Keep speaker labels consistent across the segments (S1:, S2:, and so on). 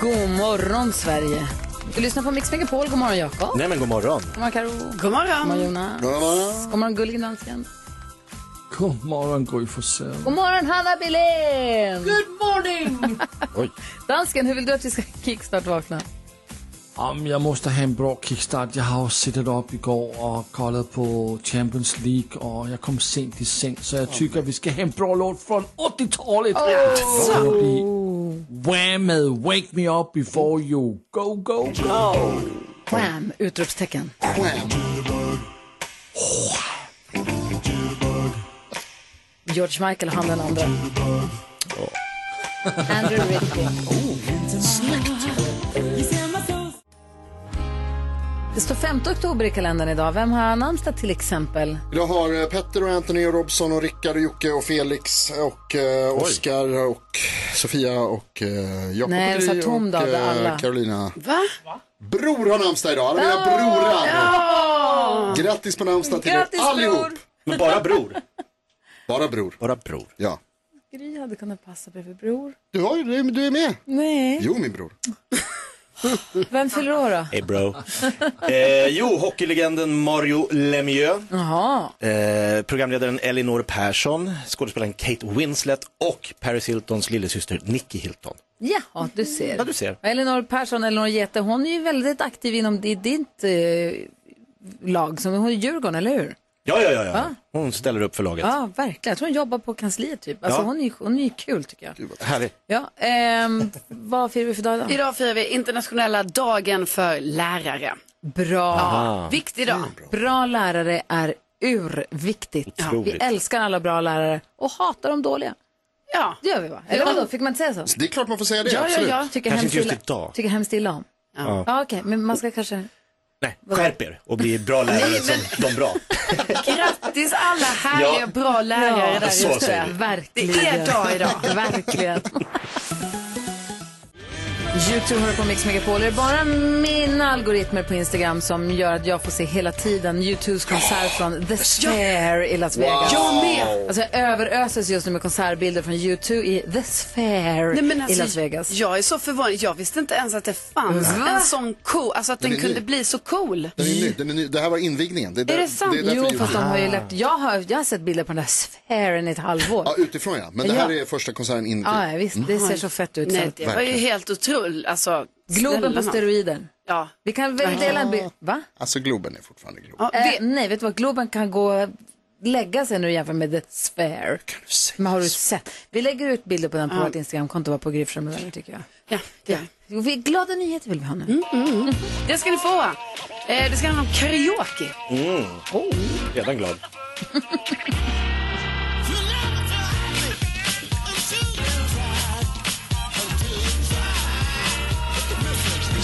S1: God morgon, Sverige. Du lyssnar på Mix Megapol. God morgon, Jakob.
S2: Nej men god morgon.
S1: God morgon, Karo. God morgon. God morgon, Jonas. God morgon, gullig dansken.
S3: God morgon Gry Forssell.
S1: God morgon, Hanna Billén. Good morning.
S3: Oj.
S1: dansken, hur vill du att vi ska kickstart vakna?
S3: Om jag måste ha en bra kickstart. Jag har suttit upp igår och kollat på Champions League och jag kom sent i säng så jag tycker vi ska ha en bra låt från 80-talet. Det kommer att bli Wham med Wake Me Up Before You Go Go Go.
S1: Wham! Utropstecken. George Michael, han den andra. Andrew Ritchie. Det står 5 oktober i kalendern idag. Vem har namnsdag till exempel?
S4: Idag har eh, Petter och Anthony och Robson och Rickard och Jocke och Felix och eh, Oskar och Sofia och eh, Jakob
S1: Nej,
S4: och
S1: det är så
S4: Gry
S1: tom dag
S4: och eh,
S1: där alla.
S4: Carolina.
S1: Va?
S4: Bror har namnsdag idag, alla mina brorar. Grattis på namnsdag till
S1: Grattis,
S4: er allihop.
S1: bror.
S4: Men bara bror. Bara bror.
S2: Bara bror.
S4: Ja.
S1: Gry hade kunnat passa bredvid Bror.
S4: Du, har, ju- du, du är med.
S1: Nej.
S4: Jo, min bror.
S1: Vem fyller år då?
S2: Hey bro. Eh, jo, hockeylegenden Mario Lemieux,
S1: Jaha.
S2: eh, programledaren Elinor Persson, skådespelaren Kate Winslet och Paris Hiltons lillasyster Nicky Hilton.
S1: Ja, du ser.
S2: Mm. Ja, du ser.
S1: Och Elinor Persson, Elinor Jete, hon är ju väldigt aktiv inom di- ditt eh, lag. Som, hon är Djurgården, eller hur?
S2: Ja, ja, ja. ja. Ah. Hon ställer upp för laget.
S1: Ja, verkligen. Jag tror hon jobbar på kansliet typ. Alltså,
S2: Ja.
S1: hon, är, hon är ju kul tycker jag.
S2: Härligt.
S1: Ja, ehm, vad firar vi för dag idag?
S5: Idag firar vi internationella dagen för lärare.
S1: Bra.
S2: Ah.
S5: Viktig dag.
S1: Bra lärare är urviktigt.
S2: Otroligt.
S1: Vi älskar alla bra lärare och hatar de dåliga.
S5: Ja.
S1: Det gör vi va? Eller vadå, fick man inte säga så?
S4: Det är klart man får säga det,
S5: Ja, ja,
S4: absolut.
S5: ja.
S1: Tycker
S2: Kanske inte
S1: hemskt
S2: just
S1: illa-
S2: idag.
S1: Tycker hemskt illa om.
S5: Ja.
S1: Ja, Okej, men man ska kanske...
S2: Nej, skärp er och bli bra lärare som de bra.
S5: Grattis alla härliga
S2: Ja.
S5: bra lärare
S1: Ja,
S5: där
S2: så
S5: ute.
S2: säger vi.
S1: Verkligen.
S5: Det är dag idag.
S1: Verkligen. Youtube hör på Mix Megapol. Det är bara mina algoritmer på Instagram som gör att jag får se hela tiden Youtubes konsert från The Sphere i Las Vegas.
S5: Jag med.
S1: Alltså jag överöses just nu med konsertbilder från YouTube i The Sphere
S5: Nej, men
S1: i
S5: alltså,
S1: Las Vegas.
S5: Jag är så förvånad. Jag visste inte ens att det fanns
S1: Va?
S5: en sån cool, alltså att den,
S4: är
S5: kunde
S4: ny.
S5: bli så cool.
S4: Den är ny, den är ny. Det här var invigningen. Det är, där,
S5: det sant?
S4: Det är därför
S1: Jo,
S4: jag-
S1: fast de har ju lagt... Jag har, jag har sett bilder på den där sfären i ett halvår.
S4: Ja, utifrån ja. Men det här
S1: Ja.
S4: är första konserten in
S1: Ja, ja, visst. Det ser så fett ut.
S5: Nej,
S1: Så.
S5: det var ju helt otroligt. Alltså,
S1: Globen på
S5: snälla.
S1: steroider.
S5: Ja.
S1: Vi kan väl dela en bild. Va?
S4: Alltså Globen är fortfarande Globen.
S5: Ja,
S1: Eh,
S5: det,
S1: nej, vet du vad? Globen kan gå lägga sig nu jämfört med The Sphere. Men har du sett? Vi lägger ut bilder på den på vårt Instagramkonto, var på Gry Forssell med vänner, tycker jag.
S5: ja, det.
S1: Jo, Vi glada nyheter vill vi ha nu.
S5: Mm. det ska ni få. Eh, det ska handla om karaoke.
S2: Redan glad.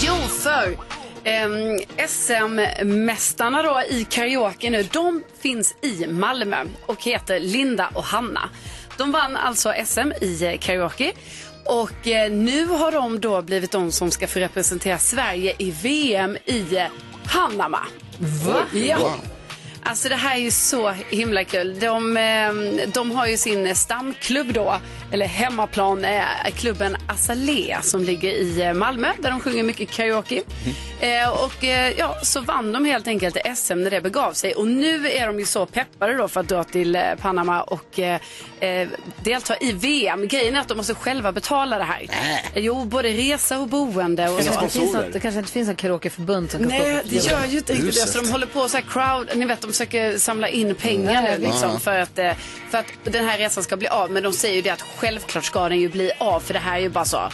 S5: Jo, för ehm, SM-mästarna då i karaoke nu, de finns i Malmö och heter Linda och Hanna. De vann alltså SM i eh, karaoke och eh, nu har de då blivit de som ska få representera Sverige i VM i eh, Panama. Va? Ja. Alltså det här är ju så himla kul. De, eh, de har ju sin stamklubb då, eller hemmaplan, eh, klubben Azalea som ligger i eh, Malmö där de sjunger mycket karaoke.
S1: Mm.
S5: Eh, Och eh, ja, så vann de helt enkelt SM när det begav sig och nu är de ju så peppade då för att dra till eh, Panama och eh, eh, delta i VM. Grejen är att de måste själva betala det här. Jo, både resa och boende och så.
S1: Det, Äh. finns något, det kanske inte finns något karaokeförbund som kan
S5: Nej,
S1: stå
S5: det
S1: för
S5: gör ju inte riktigt det. Så de håller på så här crowd, ni vet de försöker samla in pengar nu liksom för att, eh, för att den här resan ska bli av. Men de säger ju det att självklart ska den ju bli av för det här är ju bara så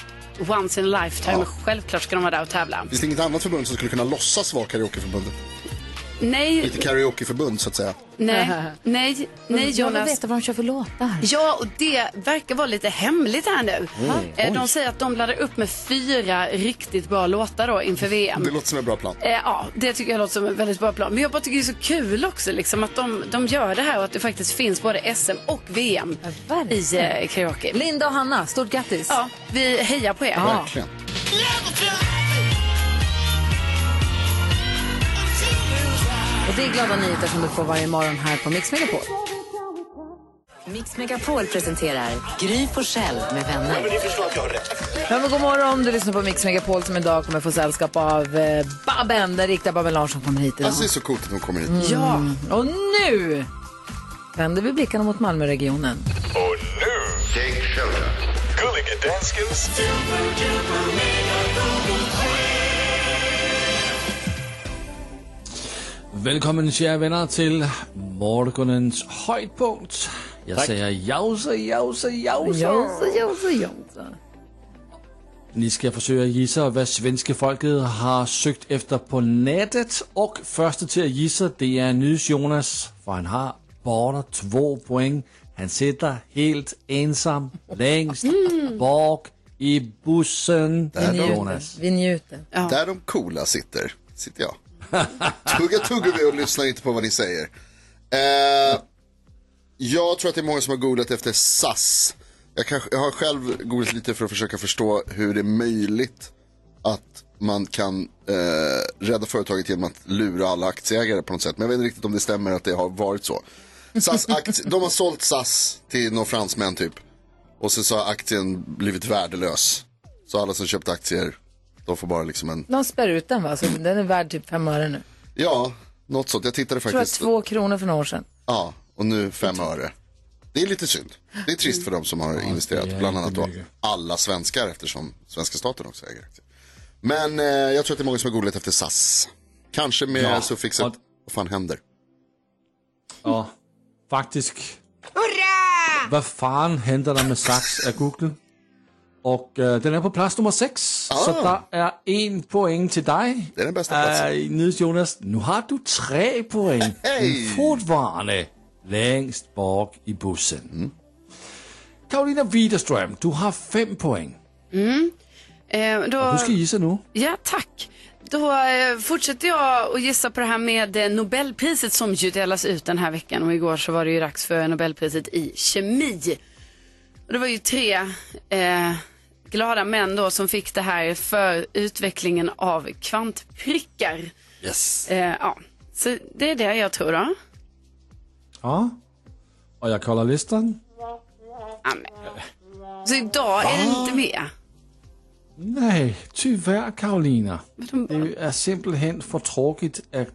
S5: once in a lifetime. Självklart ska de vara där och tävla.
S4: Finns det inget annat förbund som skulle kunna låtsas vara karaokeförbundet?
S5: Nej,
S4: Lite karaokeförbund så att säga.
S5: nej, nej, nej
S1: Jag vill
S5: Jonas.
S1: veta vad de kör för låtar.
S5: Ja, och det verkar vara lite hemligt här nu. Eh, De säger att de laddar upp med fyra riktigt bra låtar då inför VM.
S4: Det låter som en bra plan.
S5: Eh, ja, det tycker jag låter som en väldigt bra plan. Men jag bara tycker det är så kul också liksom, att de, de gör det här och att det faktiskt finns både SM och VM i
S1: verkligen.
S5: eh, karaoke.
S1: Linda och Hanna, stort grattis.
S5: Ja, vi hejar på er.
S1: Ja.
S4: Verkligen.
S1: Och det är glada nyheter som du får varje morgon här på Mix Megapol.
S6: Mix Megapol presenterar Gry på med vänner.
S1: Ja, men god morgon, du lyssnar på Mix Megapol som idag kommer få sällskap av eh, Babben, den riktiga Babben Larsson kommer hit idag.
S4: Alltså det är så coolt att de kommer hit.
S1: Ja, och nu vänder vi blickarna mot Malmöregionen.
S7: Och nu, Jake Shelton. Gullige Danskens...
S3: Välkommen kära vänner till morgonens höjdpunkt. Jag säger jausa, jausa, jausa.
S1: Jausa, jausa, jausa.
S3: Ni ska försöka gissa vad svenska folket har sökt efter på nätet. Och första till att gissa det är Nys Jonas. För han har bara två poäng. Han sitter helt ensam längst bak i bussen. Jonas.
S1: Vi njuter.
S4: Där de coola sitter, sitter jag. Tugga tuggummi och lyssnar inte på vad ni säger. Eh, jag tror att det är många som har googlat efter SAS. Jag, kanske, jag har själv googlat lite för att försöka förstå hur det är möjligt att man kan eh, rädda företaget genom att lura alla aktieägare på något sätt. Men jag vet inte riktigt om det stämmer att det har varit så. SAS aktie, de har sålt SAS till några fransmän typ. Och sen så har aktien blivit värdelös. Så alla som köpt aktier, de får bara liksom en
S1: De spär ut den va? Så den är värd typ fem öre nu.
S4: Ja, något sånt. Jag tittade
S1: Jag tror att
S4: faktiskt.
S1: två kronor för några år sedan.
S4: Ja, och nu fem öre. Det är lite synd. Det är
S1: Mm.
S4: trist för de som har investerat.
S3: det är
S4: Bland
S3: inte
S4: annat då
S3: mycket.
S4: alla svenskar eftersom svenska staten också äger aktier. Men eh, jag tror att det är många som har googlat efter SAS. Kanske med
S3: Ja,
S4: suffixet
S3: och-
S4: vad fan händer?
S3: Ja, faktisk. Hurra! Vad fan händer där med sax är Google? Och eh, den är på plats nummer sex, så där är en poäng till dig.
S4: Det är den bästa platsen.
S3: Eh, Nils Jonas, nu har du tre poäng.
S4: Hey!
S3: Men Fortfarande längst bak i bussen. Karolina Widerström, du har fem poäng.
S5: Eh, då,
S3: Du ska gissa nu.
S5: ja, tack. Då eh, fortsätter jag att gissa på det här med eh, Nobelpriset som ju delas ut den här veckan. Och igår så var det ju dags för Nobelpriset i kemi. Och det var ju tre eh, glada män då som fick det här för utvecklingen av kvantprickar.
S3: Yes.
S5: Eh, ja, så det är det jag tror då.
S3: Ja. Och jag kollar listan.
S5: Så idag är det inte med.
S3: Nej, tyvärr Karolina. Det är simpelthen för tråkigt att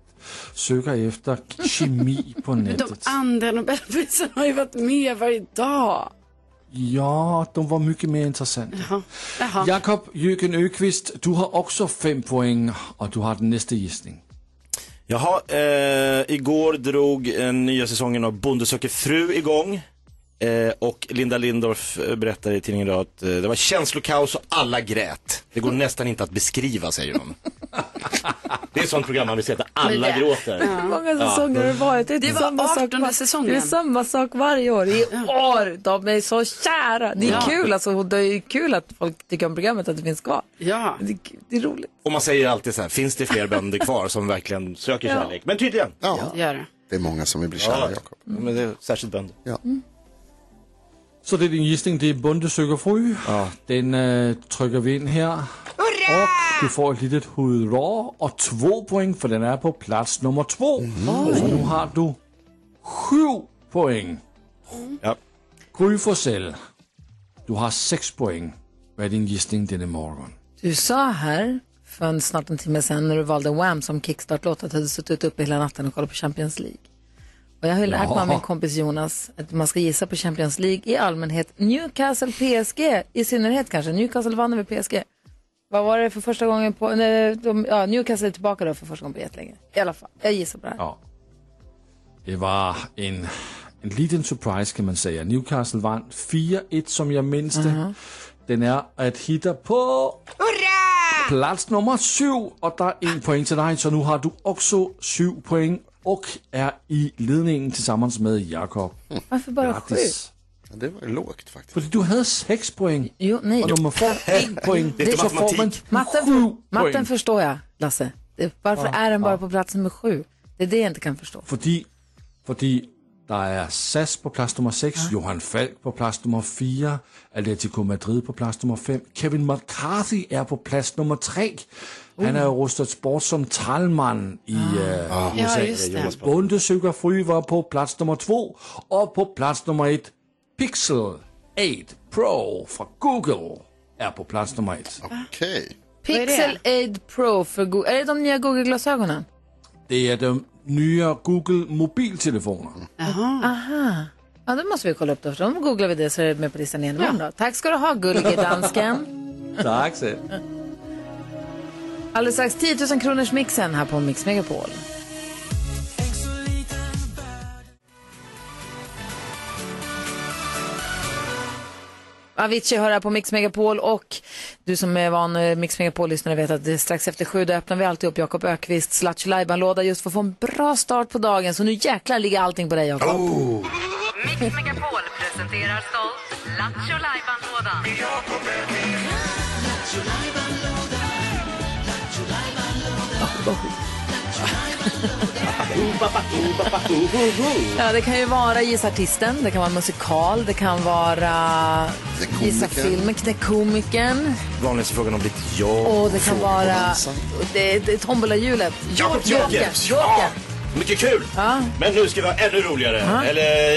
S3: söka efter kemi på
S5: De
S3: nätet.
S5: andra Nobelprisen har ju varit med varje dag.
S3: Ja, de var mycket mer intressanta.
S5: Jaha.
S3: Jakob Jürgen Öqvist, du har också fem poäng och du har den nästa gissning.
S2: Jaha, eh, igår drog eh, nya säsongen av Bonde söker fru igång. Eh, och Linda Lindorff eh, berättar i tidningen idag att eh, det var känslokaos och alla grät. Det går nästan inte att beskriva, säger hon. det är ett sånt program man vill se, att alla
S5: det-
S2: gråter.
S1: Hur många säsonger har det varit? Det, är
S5: Det var 18:e säsongen.
S1: Det är samma sak varje år. I år! De är så kära. Det är kul alltså. Det är kul att folk tycker om programmet, att det finns kvar.
S5: Ja.
S1: Det, det är roligt.
S2: Och man säger alltid så här, finns det fler bönder kvar som verkligen söker kärlek? Men tydligen.
S4: Ja,
S5: Gör det.
S4: det är många som vill bli kära, Jakob.
S2: Men det är särskilt bönder.
S4: Ja.
S1: Mm.
S3: Så det är din gissning, det är Bonde söker fru. Den äh, trycker vi in här. Och du får ett litet hurra och två poäng för den är på plats nummer två. Så nu har du sju poäng.
S2: Ja.
S3: Gry Forssell, du har sex poäng. Vad är din gissning denna morgon?
S1: Du sa här för en, snart en timme sedan när du valde Wham som kickstart-låt att du hade suttit uppe hela natten och kollat på Champions League. Och jag har ju lärt mig av min kompis Jonas att man ska gissa på Champions League i allmänhet. Newcastle PSG i synnerhet kanske. Newcastle vann över PSG. Vad var det för första gången på... Nej, de, ja, Newcastle är tillbaka då för första gången på jättelänge. I alla fall, jag gissar på det här.
S3: Ja. Det var en, en liten surprise kan man säga. Newcastle vann
S2: Mhm.
S3: 4-1 som jag minns det. Den är att hitta på Plats nummer syv, och där är en poäng till dig. Så nu har du också sju poäng och är i ledningen tillsammans med Jakob.
S1: Varför bara
S3: Grattis.
S2: Uhuh.
S4: Ja, det var lågt faktiskt.
S3: För du hade sex poäng.
S1: Jo, nej.
S3: Och om man får en poäng
S2: Det är inte
S3: så får man
S2: matematik.
S3: sju
S1: Matten,
S3: poäng.
S1: matten förstår jag, Lasse. Det, varför är den bara på plats nummer sju? Det är det jag inte kan förstå.
S3: Fordi, fordi der er SAS på plads nummer 6, Johan Falk på plads nummer 4, Atletico Madrid på plads nummer 5, Kevin McCarthy er på plads nummer 3. Han
S5: Uh.
S3: er jo rustet sport som talmand i uh, USA.
S5: just Ah. det.
S3: Bundesøger Fry var på plads nummer 2, og på plads nummer 1, Pixel 8 Pro fra Google er på plads nummer 1.
S4: Okej.
S5: är det?
S1: Pixel Aid Pro för Google. Är det de nya Google-glasögonen?
S3: Det er de nye Google mobiltelefoner.
S1: Ja, det måste vi kolla upp då. För om googlar vi det så är det med på listan igen imorgon då. Tack ska du ha, gullige dansken.
S3: Tak selv.
S1: Alldeles strax 10 000 kronors mixen här på Mix Megapol. Avicii hör här på Mix Megapol och du som är van eh, Mix Megapol-lyssnare vet att det är strax efter sju då öppnar vi alltid upp Jakob Ökvists Lattjo låda just för att få en bra start på dagen. Så nu jäklar ligger allting på dig Jakob.
S6: Mix Megapol presenterar stolt Lattjo Lajban-lådan.
S1: Ja, det kan ju vara Gissa artisten, det kan vara musikal, det kan vara
S4: Knäck
S1: Gissa
S4: komikern.
S1: filmen, Knäck komikern
S2: Vanligaste frågan om ditt jobb.
S1: och det kan vara
S4: dansa.
S1: det, det, tombolahjulet.
S2: Jakob
S1: Joker,
S2: Joker! Ja,
S1: Joker.
S2: mycket kul! Men nu ska vi ha ännu roligare. Eller...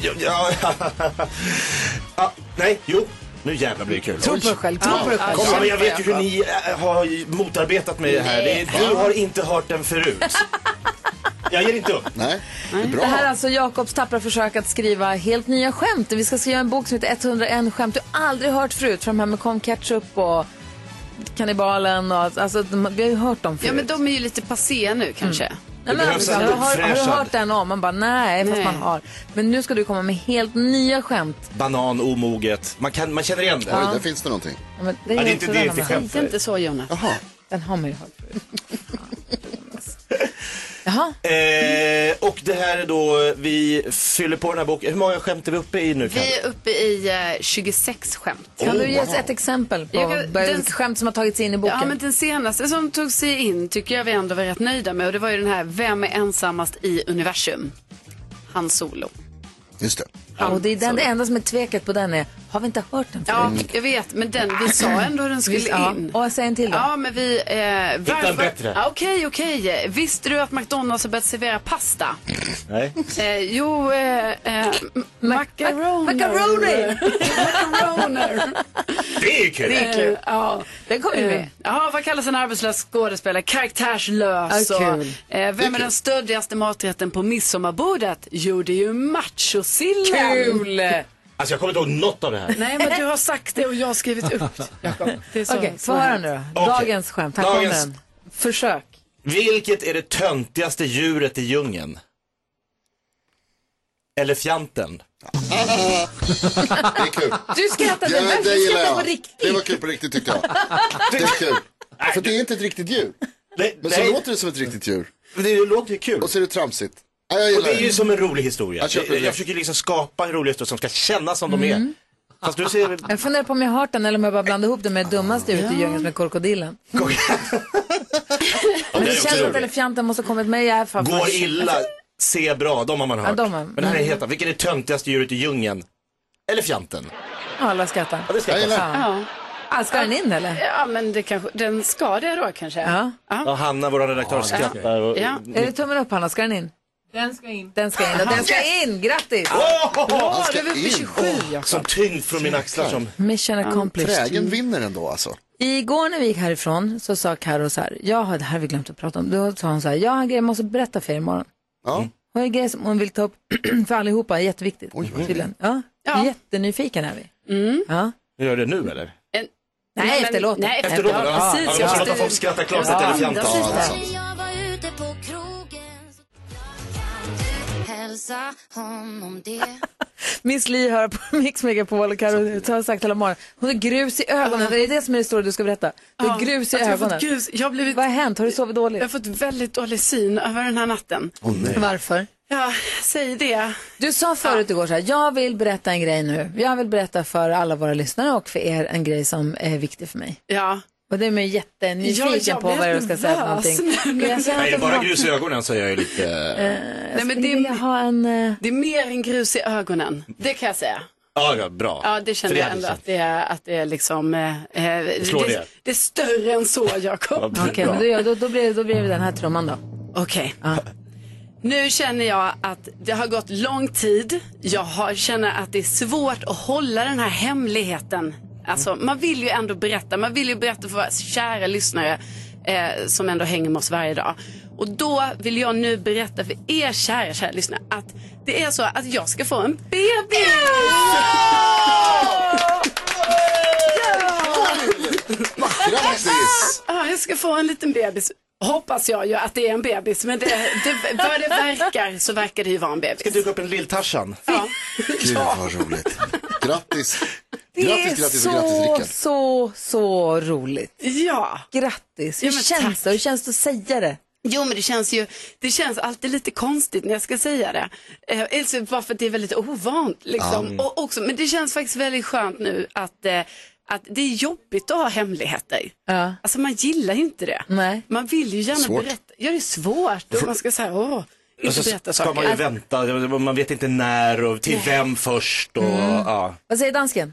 S2: Ja, ja, ah, nej, jo. Nu jävlar blir det kul.
S1: Tro på dig själv, tro på dig själv.
S2: Kom, men jag vet ju hur ni äh, har motarbetat mig i det här. Det är, du har inte hört den förut. Jag ger inte upp.
S4: Nej, det är bra.
S1: Det här är alltså Jakobs tappra försök att skriva helt nya skämt. Vi ska skriva en bok som heter 101 skämt du aldrig hört förut. Från de här med Kom Ketchup och Kannibalen och alltså, de, vi har ju hört dem förut.
S5: Ja, men de är ju lite passé nu kanske.
S1: Nej, men,
S2: behövs
S1: har,
S2: en
S1: har, har du
S2: uppfräschad.
S1: hört den om? Man bara nej, fast
S5: Nej.
S1: man har. Men nu ska du komma med helt nya skämt.
S2: Banan, omoget. Man, kan, man känner igen det.
S1: alltså-
S4: Oj, där finns det någonting.
S1: Ja, men det är,
S2: Ja, det
S1: ju
S2: är inte
S1: också
S2: det,
S1: den
S2: inte
S1: man-
S2: skämt.
S5: Säg inte så Jonas.
S4: Jaha.
S1: Den har man ju hört förut. Jaha,
S2: Eh, och det här är då, vi fyller på den här boken. Hur många skämt är vi uppe i nu? Kalle?
S5: Vi är uppe i eh, 26 skämt.
S1: kan du ge oss ett exempel på
S5: Jag kan-
S1: vad-
S5: den-
S1: ett skämt som har tagits in i boken?
S5: Ja, men den senaste som tog sig in tycker jag vi ändå var rätt nöjda med och det var ju den här Vem är ensammast i universum? Han Solo.
S4: Just det.
S1: Ja, och det, är den, det enda som är tveket på den är, har vi inte hört den
S5: Ja,
S1: förut?
S5: jag vet, men den, vi sa ändå hur den skulle
S1: Ja.
S5: in.
S1: Och säg en till då.
S5: Ja, men vi... Eh, varför-
S2: en bättre.
S5: Ja, Okej, okej. Visste du att McDonalds har börjat servera pasta?
S2: Nej.
S5: Eh, jo, eh, eh, m- macaroner.
S1: Macaroni!
S5: macaroner.
S2: Det är ju kul!
S5: Eh, ja.
S1: Den kommer ju med.
S5: Eh, Ja, vad kallas en arbetslös skådespelare? Karaktärslös.
S1: Ja,
S5: och,
S1: kul.
S5: eh, vem är den stöddigaste maträtten på midsommarbordet? Jo, det är ju machosillen.
S1: Kul!
S2: Alltså jag kommer inte ihåg något av det här.
S5: Nej, men du har sagt det och jag har skrivit upp det, Jakob. Det är så-
S1: Okej,
S5: så
S1: få höra
S5: här.
S1: nu då.
S2: Okej.
S1: Dagens skämt, här kommer
S2: Dagens-
S1: den. Försök.
S2: Vilket är det töntigaste djuret i djungeln? Elefanten.
S4: Det är kul.
S1: Du skrattar,
S4: Ja,
S1: den där
S4: det gillar
S1: skrattar på
S4: jag. Det
S1: riktigt.
S4: var kul på riktigt tyckte jag. Det är kul. För det är inte ett riktigt djur.
S2: Nej,
S4: Men så låter det som ett riktigt djur.
S2: det låter ju kul.
S4: Och så är det tramsigt. Nej, jag
S2: Och
S4: gillar
S2: det är ju
S4: det.
S2: som en rolig historia.
S4: Jag Mm. köper
S2: Jag,
S4: det.
S2: jag försöker liksom skapa en rolig historia som ska kännas som de är. Fast du ser...
S1: Jag funderar på om jag har hört den eller om jag bara blandar ihop den med det dummaste ute i djungeln som är krokodilen.
S2: Ja,
S1: Men det
S2: det är också
S1: känns att
S2: roligt.
S1: elefanten måste ha kommit med i alla fall.
S2: Går illa, se bra, de har man hört.
S1: de har-
S2: Men det här är
S4: Mm.
S2: helt annat. Vilket är det töntigaste djuret i djungeln? Elefanten.
S1: Alla skrattar.
S2: Ja, det ska
S4: Jag
S2: jag
S4: gillar
S2: passa.
S4: det.
S5: Ja.
S1: Ah, ska den in eller?
S5: ja, men det kanske, den ska det då kanske.
S1: Ja.
S2: ja, Hanna, vår redaktör, skrattar. Och...
S5: Ja.
S1: Är det tummen upp Hanna? Ska den in? Den ska in. Den ska in, den ska in. grattis!
S2: Åh!
S4: Han
S5: Ja, det
S4: ska
S5: var uppe i
S4: in.
S5: 27,
S2: Som tyngd från mina axlar som...
S1: Mission accomplished.
S4: Trägen vinner ändå alltså.
S1: Igår när vi gick härifrån så sa Karo så här, jag har, det här har vi glömt att prata om. Då sa hon så här, jag har en grej jag måste berätta för er imorgon.
S4: Ja.
S1: Hon har en grej som hon vill ta upp för allihopa, jätteviktigt. tydligen. Ja,
S5: Ja. Mm.
S1: Jättenyfiken är vi. Ja.
S2: Gör det nu eller?
S1: Nej,
S5: men-
S1: efter låten.
S5: nej, efter
S2: Efter då?
S5: Ja,
S2: Ja,
S5: precis,
S2: precis.
S5: ja.
S2: Jag måste låta folk skratta klart
S5: Ja,
S2: åt elefanten.
S5: precis.
S4: Ja, det är sant.
S8: Jag var ute på krogen så jag kan du hälsa honom det
S1: Miss Li hör på Mix Megapol och
S5: Alltså.
S1: Karo har sagt hela morgonen. Hon har grus i ögonen. Det är det som är det stora du ska berätta. Du har
S5: Ja,
S1: grus i
S5: att jag har fått
S1: ögonen.
S5: grus. Jag har blivit...
S1: Vad har hänt? Har du sovit dåligt?
S5: Jag har fått väldigt dålig syn över den här natten.
S1: Varför?
S5: Ja, säg det.
S1: Du sa förut igår så här, jag vill berätta en grej nu. Jag vill berätta för alla våra lyssnare och för er en grej som är viktig för mig.
S5: Ja.
S1: Och det är man ju jättenyfiken
S5: Ja, jag
S1: på vad
S5: blev
S1: du ska säga för
S5: nervös
S1: någonting.
S5: nu.
S1: Men jag känner
S2: Nej,
S1: att
S2: det är bara
S1: jag-
S2: grus i ögonen så är jag ju
S5: Eh.
S2: lite...
S5: Nej, men det,
S1: Jag
S5: är,
S1: har en... eh,
S5: det är mer än grus i ögonen. Det kan jag säga.
S2: Ja, ja, bra.
S5: Ja, det känner
S2: För
S5: jag
S2: hade
S5: ändå
S2: jag
S5: att det är, att det är liksom... Eh, eh,
S2: slår
S5: det,
S2: det.
S5: det är större än så,
S2: känt.
S5: Jakob.
S2: Ja,
S1: Okej,
S2: bra.
S1: men då, gör- då, då, blir, då blir det den här trumman då.
S5: Okej.
S1: Ja.
S5: Nu känner jag att det har gått lång tid. Jag har, känner att det är svårt att hålla den här hemligheten. Alltså, man vill ju ändå berätta. Man vill ju berätta för våra kära lyssnare eh, som ändå hänger med oss varje dag. Och då vill jag nu berätta för er kära, kära lyssnare att det är så att jag ska få en bebis!
S4: Grattis!
S5: Ja, jag ska få en liten bebis. Hoppas jag ju att det är en bebis, men det, det, vad det verkar så verkar det ju vara en
S2: Ska
S5: bebis.
S2: duka upp en lilltarsan.
S5: Ja.
S4: Gud vad roligt. Grattis.
S1: Det
S4: Grattis,
S1: är
S4: grattis
S1: så,
S4: och grattis Rickard.
S1: så, så roligt.
S5: ja.
S1: Grattis. Hur
S5: Ja, men
S1: känns
S5: tack.
S1: det? Hur känns det att säga det?
S5: Jo men det känns ju, det känns alltid lite konstigt när jag ska säga det. Eh, alltså, bara för att det är väldigt ovant liksom. Och också, men det känns faktiskt väldigt skönt nu att, eh, att det är jobbigt att ha hemligheter.
S1: Ja.
S5: Alltså man gillar ju inte det.
S1: Nej.
S5: Man vill ju gärna
S4: Svårt.
S5: berätta. Ja det är svårt och man ska säga åh,
S2: Och
S5: inte
S2: så
S5: berätta
S2: Alltså, ska man ju
S5: saker.
S2: vänta, man vet inte när och till vem först och
S5: Mm.
S2: ja.
S1: Vad säger dansken?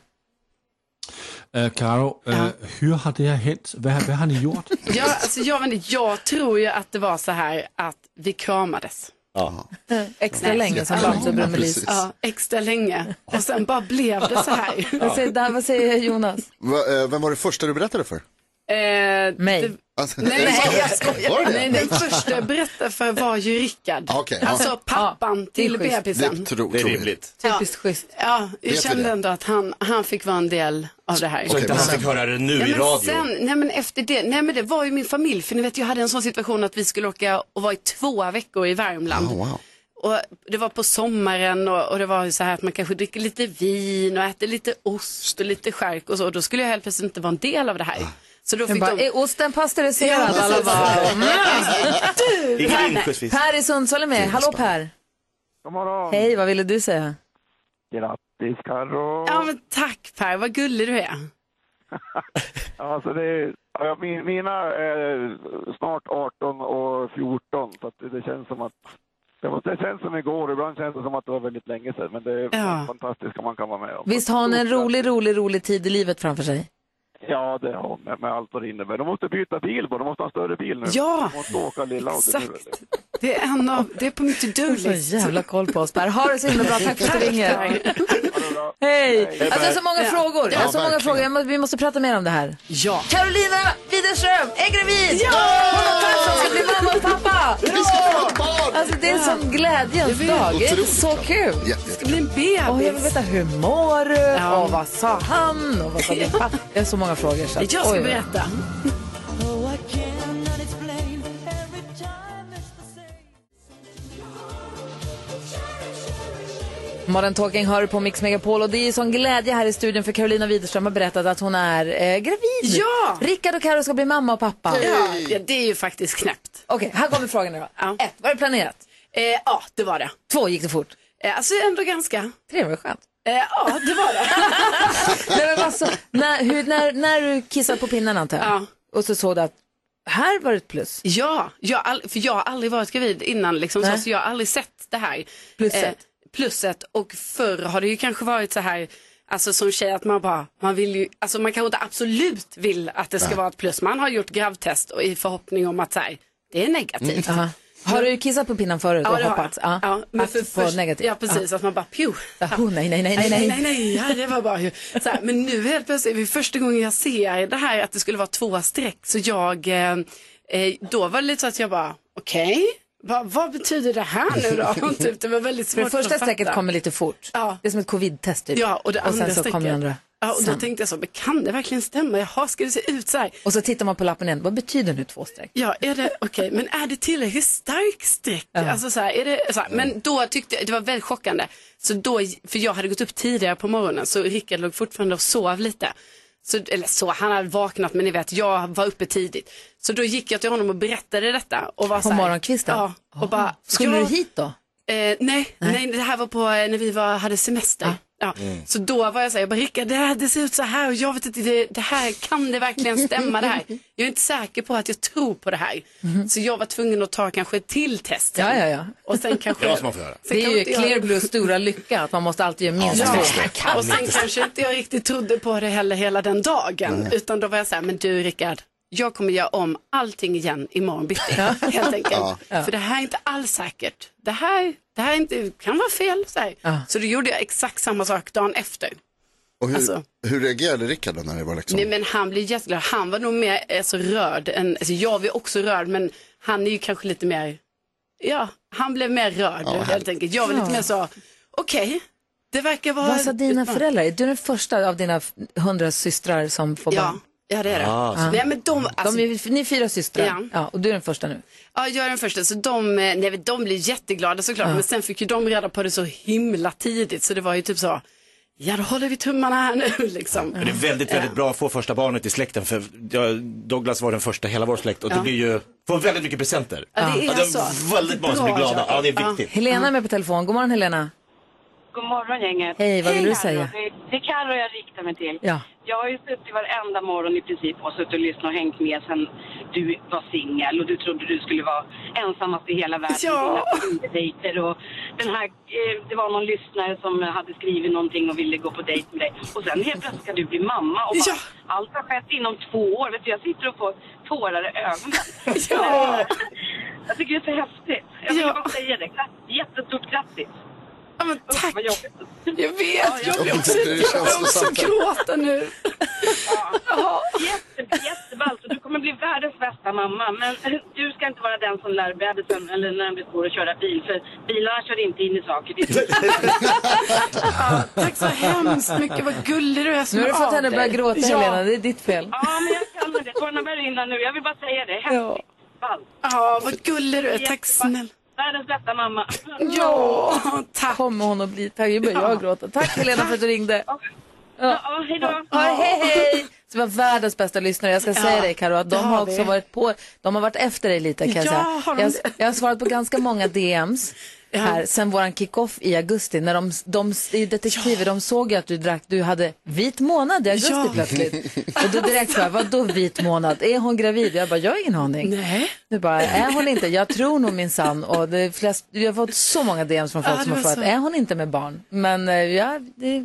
S3: Øh, Karo, øh, hur har det her hent? Hvad, hvad har ni gjort?
S5: Ja, alltså, jag, vet inte, jag tror ju att det var så här att vi kramades.
S1: Extra
S5: Nej,
S1: länge som Bamse och
S4: Ja,
S1: Brummelis.
S4: precis.
S5: Ja, extra länge. Och sen bara blev det så här.
S1: Vad säger, Dan- vad säger Jonas?
S4: Va, eh, vem var det första du berättade för?
S5: Eh,
S1: Mig.
S5: det-
S4: Alltså,
S5: Nej, nej, jag
S4: Var
S5: skojar.
S4: det det?
S5: Nej, den första jag berättade eh, för var ju Rickard.
S4: Ah, okej, ja.
S5: Alltså pappan
S1: det är
S5: till
S1: schysst.
S5: bebisen.
S4: tro,
S2: Det är
S4: troligt.
S2: rimligt.
S1: Typiskt schysst.
S5: Ja,
S4: Vet
S5: jag
S4: vi
S5: kände
S4: det?
S5: ändå att han, han fick vara en del av det här.
S2: Så inte
S4: men
S2: han
S4: sen-
S2: fick höra det nu
S5: Nej,
S2: i
S5: men
S2: radio.
S5: sen, nej men efter det, nej men det var ju min familj, för ni vet jag hade en sån situation att vi skulle åka och vara i två veckor i Värmland.
S4: Oh, wow.
S5: Och det var på sommaren och, och det var ju så här att man kanske dricker lite vin och äter lite ost och lite skärk och så. Och då skulle jag helt plötsligt inte vara en del av det här. Så då
S1: Jag
S5: fick
S1: bara,
S5: de...
S1: är osten
S5: Ja,
S1: pasteuriserad?
S5: precis.
S1: Alla bara,
S2: Ingen inskjutsvis.
S1: per i Sundsvall är med. Hallå Per. Hej, vad ville du säga?
S8: Grattis Carro!
S5: Ja men tack Per, vad gullig du är.
S8: Alltså det är, ja, min- mina är snart 18 och 14 så att det- det känns som att det, var, det känns som igår, ibland känns det som att det var väldigt länge sedan men det är
S5: Ja.
S8: fantastiskt om man kan vara med om.
S1: Visst har hon en rolig, rolig, rolig tid i livet framför sig?
S8: Ja det har hon, med, med allt vad det innebär. De måste byta bil bara, de måste ha en större bil nu.
S5: Ja,
S8: De måste åka lilla och det nu,
S5: exakt. Det är en av, det är på mitt
S1: Så
S5: to-do-list.
S1: jävla koll på oss Per. Ha det så himla bra. Tack för att du ringer.
S5: Tack.
S1: Hej! Alltså, jag har så många frågor. Jag har så många
S4: verkligen.
S1: frågor. Jag må, vi måste prata mer om det här.
S5: Ja.
S1: Carolina Widerström är gravid! Ja! Hon och Persson ska bli mamma och pappa!
S4: Vi ska få ett barn!
S1: Alltså det är en sån glädjens dag. Det är
S4: Otroligt
S1: så kul.
S4: Jätte, jätte.
S5: Det blir en
S1: Och jag vill
S5: bebis.
S1: veta hur mår du?
S5: Ja.
S1: Och vad sa han? Och vad sa din pappa? Jag har så många frågor. Så.
S5: Jag
S1: att-
S5: ska
S1: oj, oj.
S5: berätta.
S1: Modern Talking hör på Mix Megapol och det är ju sån glädje här i studion för Carolina Widerström har berättat att hon är eh, gravid.
S5: Ja!
S1: Rickard och Karo ska bli mamma och pappa.
S5: Ja, ja, det är ju faktiskt knäppt.
S1: Okej, här kommer frågorna då.
S5: Ja.
S1: Ett, var det planerat?
S5: Eh, ja, det var det.
S1: Två, gick det fort?
S5: Eh, alltså ändå ganska.
S1: Tre, var det skönt?
S5: Eh, ja, det var det.
S1: Nej, men alltså, när, hur, när, när du kissade på pinnen antar jag?
S5: Ja.
S1: Och så såg du att här var det ett plus.
S5: Ja, jag, har all, för jag har aldrig varit gravid innan liksom, så,
S1: Nej.
S5: så jag har aldrig sett det här. eh,
S1: Plusset.
S5: plusset och förr har det ju kanske varit så här, alltså som tjej att man bara, man vill ju, alltså man kanske inte absolut vill att det ska vara ett plus. Man har gjort gravtest och i förhoppning om att så här, det är negativt.
S1: Mm. Aha. Har du kissat på pinnen förut och
S5: det har
S1: hoppats?
S5: jag. Ja, men för,
S1: på
S5: först-
S1: negativt?
S5: Ja, precis. Att man bara, pju.
S1: Ja. Oh, nej, nej, nej,
S5: Nej,
S1: nej,
S5: nej, nej,
S1: nej.
S5: nej, ja, det var bara ju. Så här, men nu helt plötsligt, vid första gången jag ser det här att det skulle vara två streck, så jag, eh, eh, då var det lite så att jag bara, okej, vad- vad betyder det här nu då? Och typ, det var väldigt
S1: För
S5: svårt
S1: det första
S5: att fatta.
S1: strecket kommer lite fort.
S5: Ja.
S1: Det är som ett covid-test typ.
S5: Ja, och det
S1: och
S5: andra
S1: sen så
S5: strecket.
S1: kommer det andra.
S5: Ja, och då
S1: Sen.
S5: tänkte jag så, men kan det verkligen stämma? Jaha, ska det se ut så här?
S1: Och så tittar man på lappen igen, vad betyder nu två streck?
S5: Ja, är det, okej, men är det tillräckligt stark streck?
S1: Ja.
S5: Alltså så här, är det, så här, men då tyckte jag, det var väldigt chockande. Så då, för jag hade gått upp tidigare på morgonen så Rickard låg fortfarande och sov lite. Så, eller så, han hade vaknat men ni vet, jag var uppe tidigt. Så då gick jag till honom och berättade detta. Och var
S1: På
S5: så här,
S1: morgonkvisten?
S5: Ja, och bara,
S1: Skulle
S5: ja,
S1: du hit då?
S5: Eh, nej, nej. det här var på eh, när vi var, hade semester. Ja.
S1: Mm.
S5: Så då var jag så här, jag bara Rickard, det, här- det ser ut så här och jag vet inte, det, det här, kan det verkligen stämma det här? Jag är inte säker på att jag tror på det här. Så jag var tvungen att ta kanske ett till test.
S1: Mhm. Ja, ja, ja.
S5: Och sen kanske...
S1: Det måste man
S2: få göra.
S1: Det är ju Clear Blues stora lycka, att man måste alltid göra minst
S5: Ja,
S1: två.
S5: och sen kanske inte jag riktigt trodde på det heller hela den dagen. Utan då var jag så här, men du Rickard, jag kommer göra om allting igen imorgon bitti. Helt enkelt. För det här är inte alls säkert. Det här, det här är inte, kan vara fel. Så, här. så då gjorde jag exakt samma sak dagen efter.
S4: Och hur,
S5: Alltså.
S4: hur reagerade Rickard när det var liksom?
S5: Nej men han blev jätteglad. Han var nog mer eh, så rörd. Än, alltså, jag var ju också rörd men han är ju kanske lite mer, ja han blev mer rörd
S1: Ja,
S5: helt enkelt. Jag var lite
S1: Ja.
S5: mer så, okej, det verkar vara...
S1: Vad sa dina
S5: Ja.
S1: föräldrar? Är du den första av dina f- hundra systrar som får
S5: Ja,
S1: barn?
S5: ja, det är det. Ah, så. Nej, men de- alltså-
S1: är, ni är fyra systrar,
S5: Ja.
S1: ja. och du är den första nu.
S5: Ja, jag är den första. Så de, eh, nej, men de blev jätteglada såklart. Men sen fick ju de reda på det så himla tidigt. Så det var ju typ så, ja då håller vi tummarna här nu liksom.
S2: Men det är väldigt, väldigt bra att få första barnet i släkten för jag- Douglas var den första i hela vår släkt och det
S5: Ja.
S2: blir ju, får väldigt mycket presenter.
S1: Ja, det är
S5: så.
S2: väldigt många som blir
S5: Bra,
S2: glada, ja det är viktigt.
S1: Helena är med på telefon. God morgon Helena.
S9: God morgon gänget.
S1: Hej, vad vill du
S9: Carro.
S1: säga?
S9: Det- Det är Carro jag riktar mig till.
S1: Ja.
S9: Jag har ju suttit varenda morgon i princip och suttit och lyssnat och hängt med sen du var singel och du trodde du skulle vara ensammast i hela världen.
S5: Ja.
S9: Dina dejter och den här, eh, det var någon lyssnare som hade skrivit någonting och ville gå på dejt med dig. Och sen helt plötsligt ska du bli mamma och bara, allt har skett inom två år. Vet du, jag sitter och får tårar i ögonen.
S5: Ja.
S9: Jag tycker det är så häftigt. Jag vill bara säga det. Grat- Jättestort grattis.
S5: Ja, men tack.
S9: Jag
S5: vet, jag blir också, jag blir också gråta nu.
S9: Jätte, jätteballt. Och Du kommer bli världens bästa mamma. Men du ska inte vara den som lär bebisen, eller när den blir stor, att köra bil. För bilarna kör inte in i saker. Det är-
S5: Tack så hemskt mycket, vad gullig du är som
S1: Nu har du
S5: hör
S1: fått
S5: av
S1: henne att börja
S5: dig.
S1: gråta
S5: ja.
S1: Helena, det är ditt fel.
S9: Ja, men jag känner det. Tårarna börjar rinna nu. Jag vill bara säga det. Häftigt. Ballt.
S5: Ja, vad gullig du är. Tack snälla.
S9: Världens bästa mamma.
S1: Ja, tack. Kommer hon att bli tack, Nu börjar jag gråta. Tack Helena för att du ringde.
S9: Ja, hej då.
S1: Ja, hej, hej. Så var världens bästa lyssnare. Jag ska
S9: Ja,
S1: säga dig Karo att
S9: det
S1: de har
S9: har
S1: också
S9: vi.
S1: varit på, de har varit efter dig lite kan jag
S9: Ja, har
S1: säga.
S9: de
S1: Jag,
S9: det?
S1: jag har svarat på ganska många DMs här sen våran kickoff i augusti. När de, de i detektiver, de såg ju att du drack, du hade vit månad i augusti
S5: Ja.
S1: plötsligt. Och då direkt bara, vadå vit månad? Är hon gravid? Jag bara, jag har ingen aning.
S5: Nej.
S1: Du bara, är hon inte? Jag tror nog minsann. Och det är flest, jag har fått så många DMs från folk
S5: Ja,
S1: som
S5: det
S1: har
S5: var
S1: frågat,
S5: så.
S1: är hon inte med barn? Men eh, ja, det,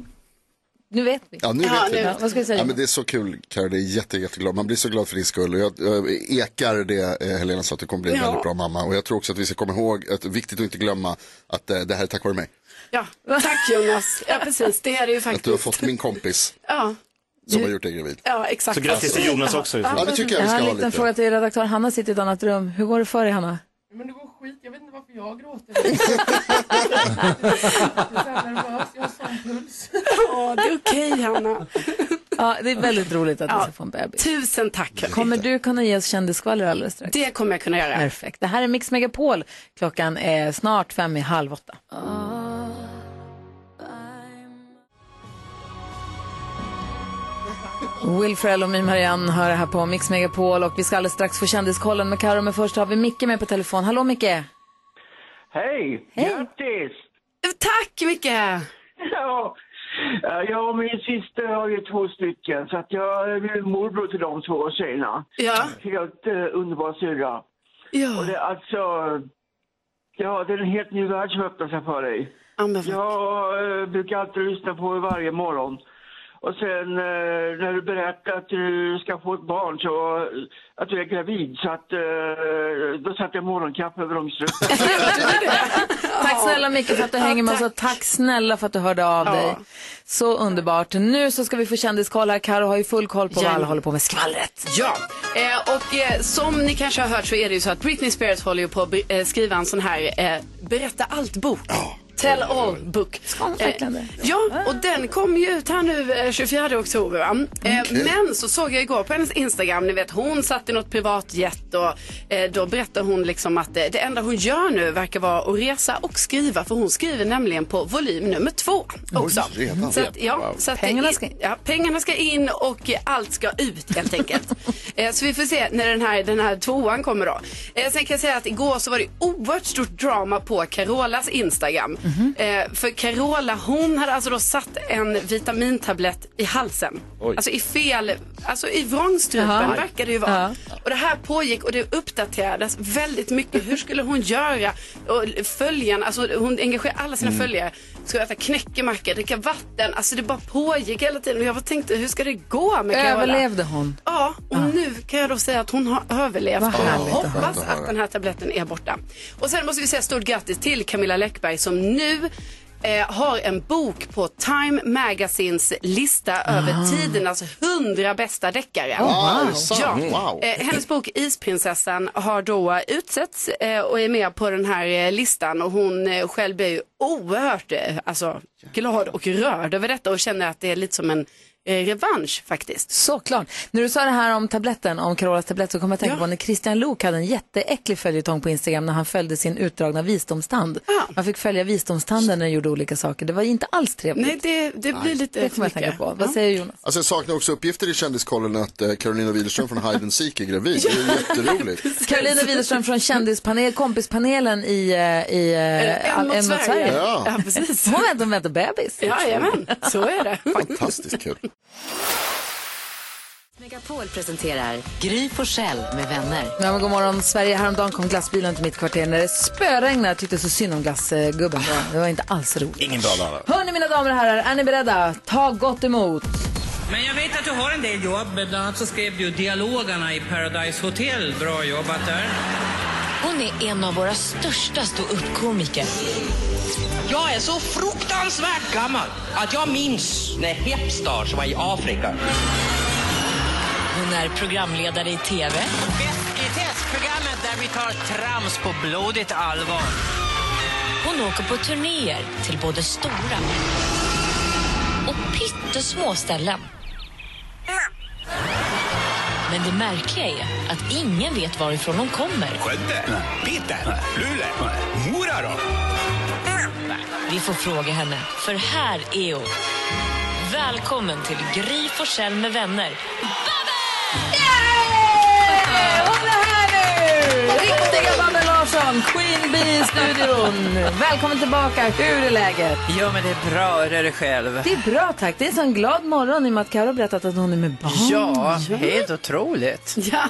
S1: nu vet vi.
S4: Ja, nu vet vi.
S1: Ja, Vad ska vi säga?
S4: Ja, men det är så kul, Carro. Det är jätte, jätteglad. Man blir så glad för din skull. Och jag, jag ekar det eh, Helena sa, att du kommer bli en
S5: Ja.
S4: väldigt bra mamma. Och jag tror också att vi ska komma ihåg, att, viktigt att inte glömma, att eh, det här är tack vare mig.
S5: Ja, tack Jonas. Ja, precis. Det är det ju
S4: Att du har
S5: faktiskt.
S4: fått min kompis
S5: Ja,
S4: som har gjort dig gravid.
S5: ja exakt.
S4: Ja, det tycker jag vi
S1: har
S4: ska
S1: en
S4: ha
S1: liten
S4: lite.
S1: fråga till redaktör. Hanna sitter i ett annat rum. Hur går det för dig, Hanna?
S10: Men det var skit, jag vet inte varför jag gråter. jag har sån puls.
S5: Ja, det är okej Hanna.
S1: Ja, det är väldigt roligt att du ska få en bebis.
S5: Tusen tack.
S1: Kommer du kunna ge oss kändisskvaller alldeles strax?
S5: Det kommer jag kunna göra.
S1: Perfekt. Det här är Mix Megapol. Klockan är snart fem i halv åtta. Will Ferrell och My Marianne hör här på Mix Megapol och vi ska alldeles strax få kändiskollen med Karo men först har vi Micke med på telefon. Hallå Micke!
S11: Hej! Grattis!
S5: Tack Micke!
S11: Ja, eh, jag och min syster har ju två stycken så att jag är morbror till de två tjejerna.
S5: Ja.
S11: Helt eh, underbar syrra.
S5: Ja.
S11: Och det är alltså, ja det är en helt ny värld som öppnar sig för dig. jag eh, brukar alltid lyssna på er varje morgon. Och sen eh, när du berättar att du ska få ett barn så, att du är gravid så att, eh, då satte jag morgonkaffe över långstrumpen.
S1: Tack snälla Micke för att du hänger med oss och tack snälla för att du hörde av
S11: Ja.
S1: dig. Så underbart. Nu så ska vi få kändiskoll här. Karo har ju full koll på vad
S5: Jajamän.
S1: alla håller på med. Skvallret.
S5: Ja, eh, och eh, som ni kanske har hört så är det ju så att Britney Spears håller ju på att br- eh, skriva en sån här eh, berätta allt-bok. Tell all book.
S1: verkligen
S5: Eh, Ja, och den kom ju ut här nu eh, 24 oktober. Va?
S4: Mm,
S5: Eh,
S1: Okej.
S5: Men så såg jag igår på hennes Instagram, ni vet hon satt i något privatjet och eh, då berättade hon liksom att eh, det enda hon gör nu verkar vara att resa och skriva för hon skriver nämligen på volym nummer två också.
S4: Oj, redan.
S5: så att, ja,
S4: Wow.
S5: så att pengarna, ska... Ja, pengarna ska in och eh, allt ska ut helt enkelt. eh, så vi får se när den här, den här tvåan kommer då. Eh, sen kan jag säga att igår så var det oerhört stort drama på Carolas Instagram. eh, för Carola hon hade alltså då satt en vitamintablett i halsen.
S12: Oj.
S5: Alltså i fel, alltså i vrångstrupen
S12: Jaha.
S5: verkar det ju vara. Och det här pågick och det uppdaterades väldigt mycket. Hur skulle hon göra? Och följarna, alltså hon engagerar alla sina
S12: Mm.
S5: följare. Ska äta knäckemacka, dricka vatten. Alltså det bara pågick hela tiden. Och jag bara tänkte, hur ska det gå med Carola?
S1: Överlevde hon?
S5: Ja, och nu kan jag då säga att hon har överlevt.
S1: Vad
S5: Och
S1: härligt
S5: jag
S1: att höra.
S5: hoppas att den här tabletten är borta. Och sen måste vi säga stort grattis till Camilla Läckberg som nu eh, har en bok på Time Magazines lista över
S1: Ah.
S5: tidernas hundra bästa deckare.
S12: Åh, wow. Wow.
S5: Ja.
S12: Wow.
S5: Eh, hennes bok Isprinsessan har då utsetts eh, och är med på den här eh, listan och hon eh, själv blir ju oerhört eh, alltså, glad och rörd över detta och känner att det är lite som en eh, revansch faktiskt.
S1: Såklart. När du sa det här om tabletten, om Carolas tablett, så kom jag att tänka på när Christian Lok hade en jätteäcklig följetong på Instagram när han följde sin utdragna visdomstand. Man fick följa visdomstanden när den gjorde olika saker. Det var inte alls trevligt.
S5: Nej, det, det blir lite
S1: Det kommer jag att
S5: för
S1: tänka
S5: mycket.
S1: på. Vad säger Jonas?
S4: Alltså jag saknar också uppgifter i Kändiskollen att eh, Carolina Widerström från Hide and Seek är gravid. Det är ju jätteroligt.
S1: Karolina Widerström från kändispanel, kompispanelen i, eh, i eh,
S5: En mot Sverige.
S4: Ja. Ja,
S5: precis.
S1: Hon väntar, väntar bebis.
S5: Jajamän, så är det.
S4: Fantastiskt kul.
S6: Megapol presenterar Gry Forssell med vänner.
S1: Ja, men god morgon. Sverige. Häromdagen kom glassbilen till mitt kvarter när det spöregnade. Jag tyckte så synd om glassgubben. Det var inte alls roligt.
S13: Ingen bra dag.
S1: Hörni mina damer och herrar, är ni beredda? Ta gott emot.
S14: Men jag vet att du har en del jobb. Bland annat så skrev du dialogerna i Paradise Hotel. Bra jobbat där.
S6: Hon är en av våra största ståuppkomiker.
S14: Jag är så fruktansvärt gammal att jag minns när Hep Stars var i Afrika.
S6: Hon är programledare i TV.
S14: I testprogrammet där vi tar trams på blodigt allvar.
S6: Hon åker på turnéer till både stora och pyttesmå ställen. Men det märkliga är att ingen vet varifrån hon kommer.
S9: Skövde? Piteå? Luleå? Mora då?
S6: Vi får fråga henne, för här är hon. Välkommen till Gry Forssell med vänner.
S1: Hon är här nu! Riktiga Babben Larsson, Queen Bee i studion. Välkommen tillbaka. Hur är läget?
S14: Ja, men det är bra. Hur är det själv?
S1: Det är bra tack. Det är en sån glad morgon i och med att Karo har berättat att hon är med barn.
S12: Ja, helt otroligt.
S5: Ja.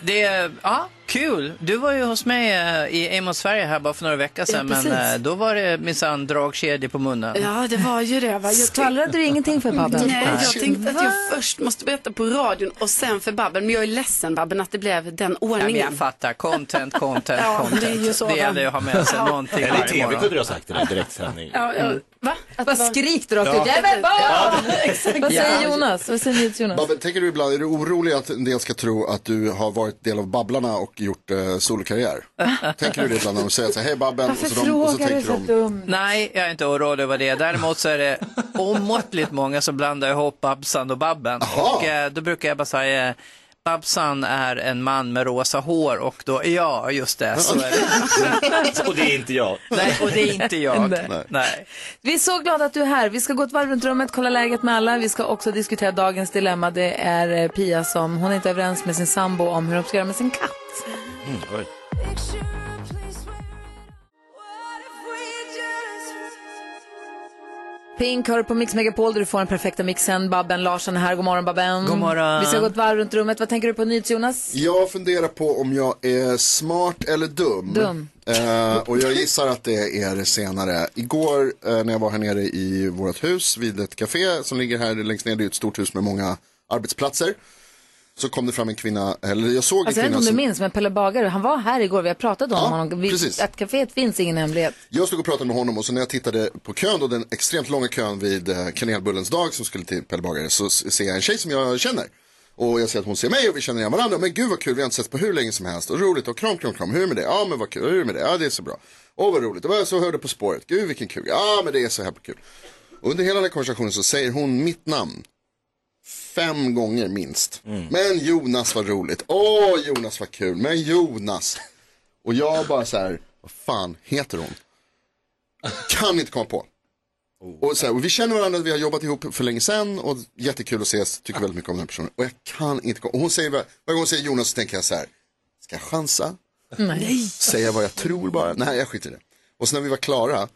S12: Det är, ja, kul. Du var ju hos mig eh, i Amos Sverige här bara för några veckor sedan,
S5: Ja,
S12: men
S5: precis.
S12: eh, då var det minsann dragkedjor på munnen.
S5: Ja, det var ju det. Va? Jag
S1: Skvallrade du ingenting för Babben?
S5: Nej, jag tänkte att jag först måste berätta på radion och sen för Babben. Men jag är ledsen Babben att det blev den
S12: Ja, men jag
S5: ordningen.
S12: fattar, content, content,
S5: Ja,
S12: content.
S5: det är ju så, va?
S12: gäller ju att ha med sig
S5: Ja.
S12: någonting
S13: Eller i
S12: varje
S13: tv
S12: morgon.
S13: kunde du ha sagt det där, direktsändning.
S5: Ja, ja.
S1: Mm.
S5: Va? Att
S1: Bara
S5: det var-
S1: skrik rakt ut.
S4: Ja.
S1: Jag är med barn!
S4: Ja.
S1: Exakt. Vad
S4: Ja.
S1: säger Jonas? Vad säger Nils Jonas?
S4: Babben, tänker du ibland, är du orolig att en del ska tro att du har varit del av Babblarna och gjort eh, solokarriär? tänker du det ibland när de säger så här, hej Babben, och så, de, och så tänker de,
S1: dumt?
S12: Nej, jag är inte orolig över det. Däremot så är det omåttligt många som blandar ihop Babsan och Babben. Och eh, då brukar jag bara säga, eh, Babsan är en man med rosa hår och då, ja, just det, så är det.
S13: Och det är inte jag.
S12: Nej, och det är inte jag.
S1: Nej.
S12: Nej.
S1: Vi är så glada att du är här. Vi ska gå ett varv runt rummet, kolla läget med alla. Vi ska också diskutera dagens dilemma. Det är eh, Pia som, hon är inte överens med sin sambo om hur de ska göra med sin katt.
S13: Mm, oj.
S1: Pink hör på Mix Megapol där du får den perfekta mixen. Babben Larsson är här. God morgon Babben.
S12: God morgon.
S1: Vi ska gå ett varv runt rummet. Vad tänker du på nytt Jonas?
S4: jag funderar på om jag är smart eller dum.
S1: Dum.
S4: Eh, och jag gissar att det är det senare. Igår eh, när jag var här nere i vårt hus vid ett café som ligger här längst ner, det är ett stort hus med många arbetsplatser. Så kom det fram en kvinna, eller jag såg
S1: Alltså, jag vet
S4: en kvinna
S1: inte om du
S4: som...
S1: minns, men Pelle Bagare, han var här igår. Vi har pratat om honom. Vi,
S4: precis.
S1: Att kaféet finns ingen hemlighet.
S4: Jag stod och pratade med honom och så när jag tittade på kön då, den extremt långa kön vid eh, kanelbullens dag som skulle till Pelle Bagare, så s- ser jag en tjej som jag känner. Och jag ser att hon ser mig och vi känner igen varandra. Men gud vad kul, vi har inte sett på hur länge som helst. Och roligt och kram, kram, kram. Hur är det med det? Ja, men vad kul. Hur är det med det? Ja, det är så bra. Åh, vad roligt. Och så hörde På spåret. Gud, vilken kul. Ja, men det är så här kul. Och under hela den här konversationen så säger hon mitt namn. Fem gånger minst. Men Jonas var roligt. Åh, Jonas var kul. Men Jonas. Och jag bara så här, vad fan heter hon? Kan inte komma på. Och så här, och vi känner varandra, vi har jobbat ihop för länge sedan och jättekul att ses, tycker väldigt mycket om den här personen. Och jag kan inte komma, och hon säger, var- varje gång hon säger Jonas så tänker jag så här, ska jag chansa?
S1: Nej.
S4: Säga vad jag tror bara? Nej, jag skiter i det. Och sen när vi var klara,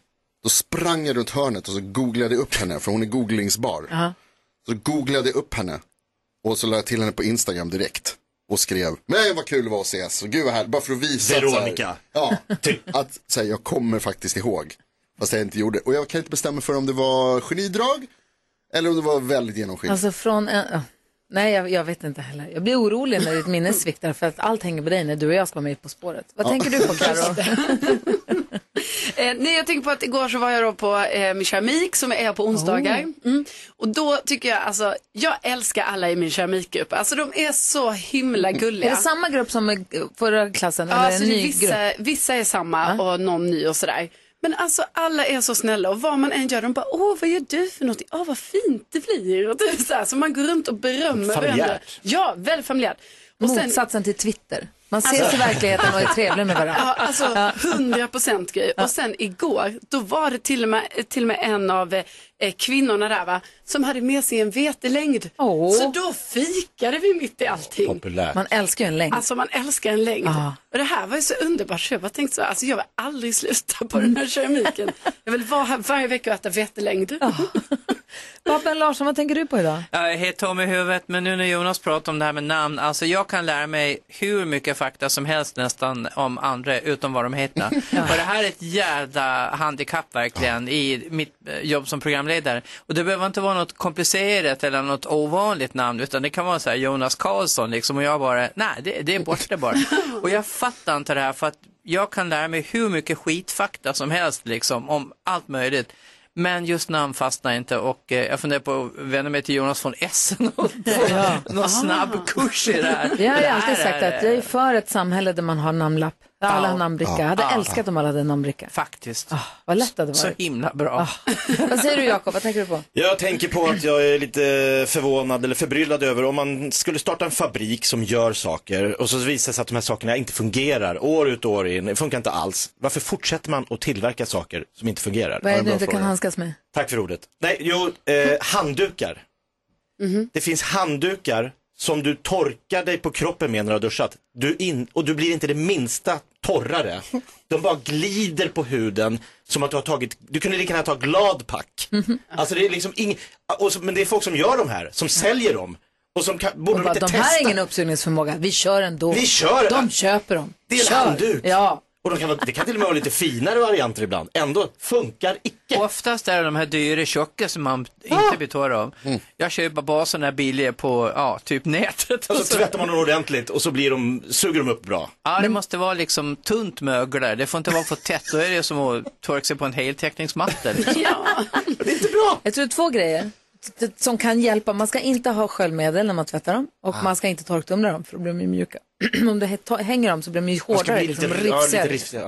S4: då sprang jag runt hörnet och så googlade jag upp henne, för hon är googlingsbar.
S1: Ja.
S4: Så googlade jag upp henne och så la jag till henne på Instagram direkt. Och skrev, men vad kul det var att ses, och gud vad härligt, bara för att visa. att så här-
S2: Veronica.
S4: Ja, att så här, jag kommer faktiskt ihåg. Fast jag inte gjorde. Och jag kan inte bestämma för om det var genidrag eller om det var väldigt genomskinligt.
S1: Alltså från en... ja. Nej, jag, jag vet inte heller. Jag blir orolig när ditt minne sviktar för att allt hänger på dig när du och jag ska vara med På spåret. Vad
S15: Ja.
S1: tänker du på, Karo?
S15: Eh, nej, jag tänker på att igår så var jag då på eh, min keramik som är på onsdagar.
S1: Oh.
S15: Mm. Och då tycker jag, alltså, jag älskar alla i min keramikgrupp. Alltså de är så himla gulliga.
S1: Mm. Är det samma grupp som i förra klassen?
S15: Ja,
S1: eller
S15: alltså,
S1: en
S15: det är
S1: ny grupp?
S15: vissa, vissa är samma och någon ny och sådär. Men alltså alla är så snälla och vad man än gör, de bara åh vad gör du för någonting? Åh vad fint det blir. Och typ så, här, så man går runt och berömmer
S1: Familjärt.
S15: varandra. Ja, väldigt familjärt. Och sen-
S1: Motsatsen till Twitter. Man ses
S15: Alltså-
S1: i verkligheten och är trevlig med varandra.
S15: Ja, alltså 100 procent grej. Och sen igår, då var det till och med, till och med en av eh, kvinnorna där va, som hade med sig en vetelängd. Så då fikade vi mitt i allting.
S2: Populärt.
S1: Man älskar ju en längd.
S15: Alltså man älskar en längd.
S1: Ja.
S15: Och det här var ju så underbart så jag bara tänkte så här, alltså jag vill aldrig sluta på den här keramiken. Jag vill vara här varje vecka och äta vetelängd.
S1: Babben Larsson, vad tänker du på idag?
S12: Jag är helt tom i huvudet, men nu när Jonas pratar om det här med namn, alltså jag kan lära mig hur mycket fakta som helst nästan om andra, utom vad de heter. Och det här är ett jävla handikapp verkligen i mitt eh, jobb som programledare. Och det behöver inte vara något komplicerat eller något ovanligt namn, utan det kan vara så här Jonas Karlsson liksom, och jag bara, nej, det, det är borta bara. Och jag fattar inte det här, för att jag kan lära mig hur mycket skitfakta som helst liksom, om allt möjligt. Men just namn fastnar inte och eh, jag funderar på att vända mig till Jonas von Essen och få någon
S1: Ah.
S12: snabb kurs i det här.
S1: Jag har
S12: Det
S1: ju
S12: här
S1: alltid sagt
S12: är,
S1: att jag är för ett samhälle där man har namnlapp. Där alla har namnbricka. Jag hade
S12: Ja.
S1: älskat om alla hade namnbricka.
S12: Faktiskt.
S1: Vad lätt Ah. det hade
S12: Så
S1: varit. Ah.
S12: himla bra.
S1: Vad säger du Jakob, vad tänker du på?
S2: Jag tänker på att jag är lite förvånad eller förbryllad över om man skulle starta en fabrik som gör saker och så visar det sig att de här sakerna inte fungerar år ut och år in, det funkar inte alls. Varför fortsätter man att tillverka saker som inte fungerar?
S1: Vad är det
S2: Ja, en
S1: du
S2: bra
S1: inte kan
S2: fråga.
S1: handskas med?
S2: Tack för ordet. Nej, jo, eh, handdukar.
S1: Mhm.
S2: Det finns handdukar som du torkar dig på kroppen med när du har duschat. Du in, och du blir inte det minsta torrare. De bara glider på huden som att du har tagit, du kunde lika gärna ta gladpack.
S1: Mhm.
S2: Alltså det är liksom ing, och så, men det är folk som gör de här, som säljer dem. Och som kan, borde
S1: Och
S2: de
S1: bara,
S2: inte
S1: de
S2: testa?
S1: här har ingen uppsugningsförmåga, vi kör ändå.
S2: Vi kör!
S1: De köper dem.
S2: Det är en
S1: kör.
S2: handduk.
S1: Ja.
S2: Och de kan, vara- det kan till och med vara lite finare varianter ibland. Ändå funkar icke. Ah!
S12: Oftast är det de här dyra tjocka som man inte blir torr av.
S2: Mm.
S12: Jag köper bara sådana här billiga på, ja, typ nätet.
S2: Och så tvättar man dem ordentligt och så blir de, suger de upp bra.
S12: Ja, det måste vara liksom tunt mögel där. Det får inte vara för tätt. Då är det som att torka sig på en heltäckningsmatta. Liksom.
S1: Jag tror två grejer t- t- som kan hjälpa. Man ska inte ha sköljmedel när man tvättar dem och
S2: Ah.
S1: man ska inte torktumla dem för då blir de ju mjuka. Om du hä- ta- hänger dem så blir de ju
S2: Man ska
S1: hårdare,
S2: bli
S1: liksom,
S2: lite- ja, lite Ah.
S1: rifsigare.
S2: rifsigare,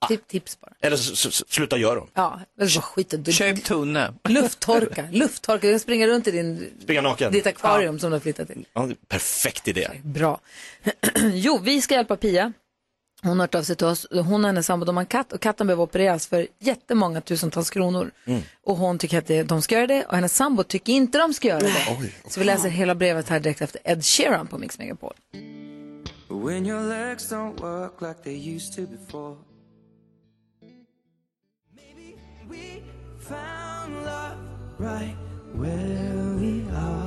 S2: ja.
S1: Tip, tips bara.
S2: Eller så, så, så, sluta göra dem.
S1: Ja, eller så skiten. Du,
S12: Köp tunne.
S1: lufttorka, lufttorka. Jag springer runt i din,
S2: Springa naken.
S1: ditt akvarium som du har flyttat till.
S2: Ja, perfekt idé.
S1: Bra. jo, vi ska hjälpa Pia. Hon har hört av sig till oss. Hon och hennes sambo de har en katt och katten behöver opereras för jättemånga tusentals kronor. Och hon tycker att det- de ska göra det och hennes sambo tycker inte de ska göra det. Så vi läser hela brevet här direkt efter Ed Sheeran på Mix Megapol.
S16: When your legs don't work like they used to before.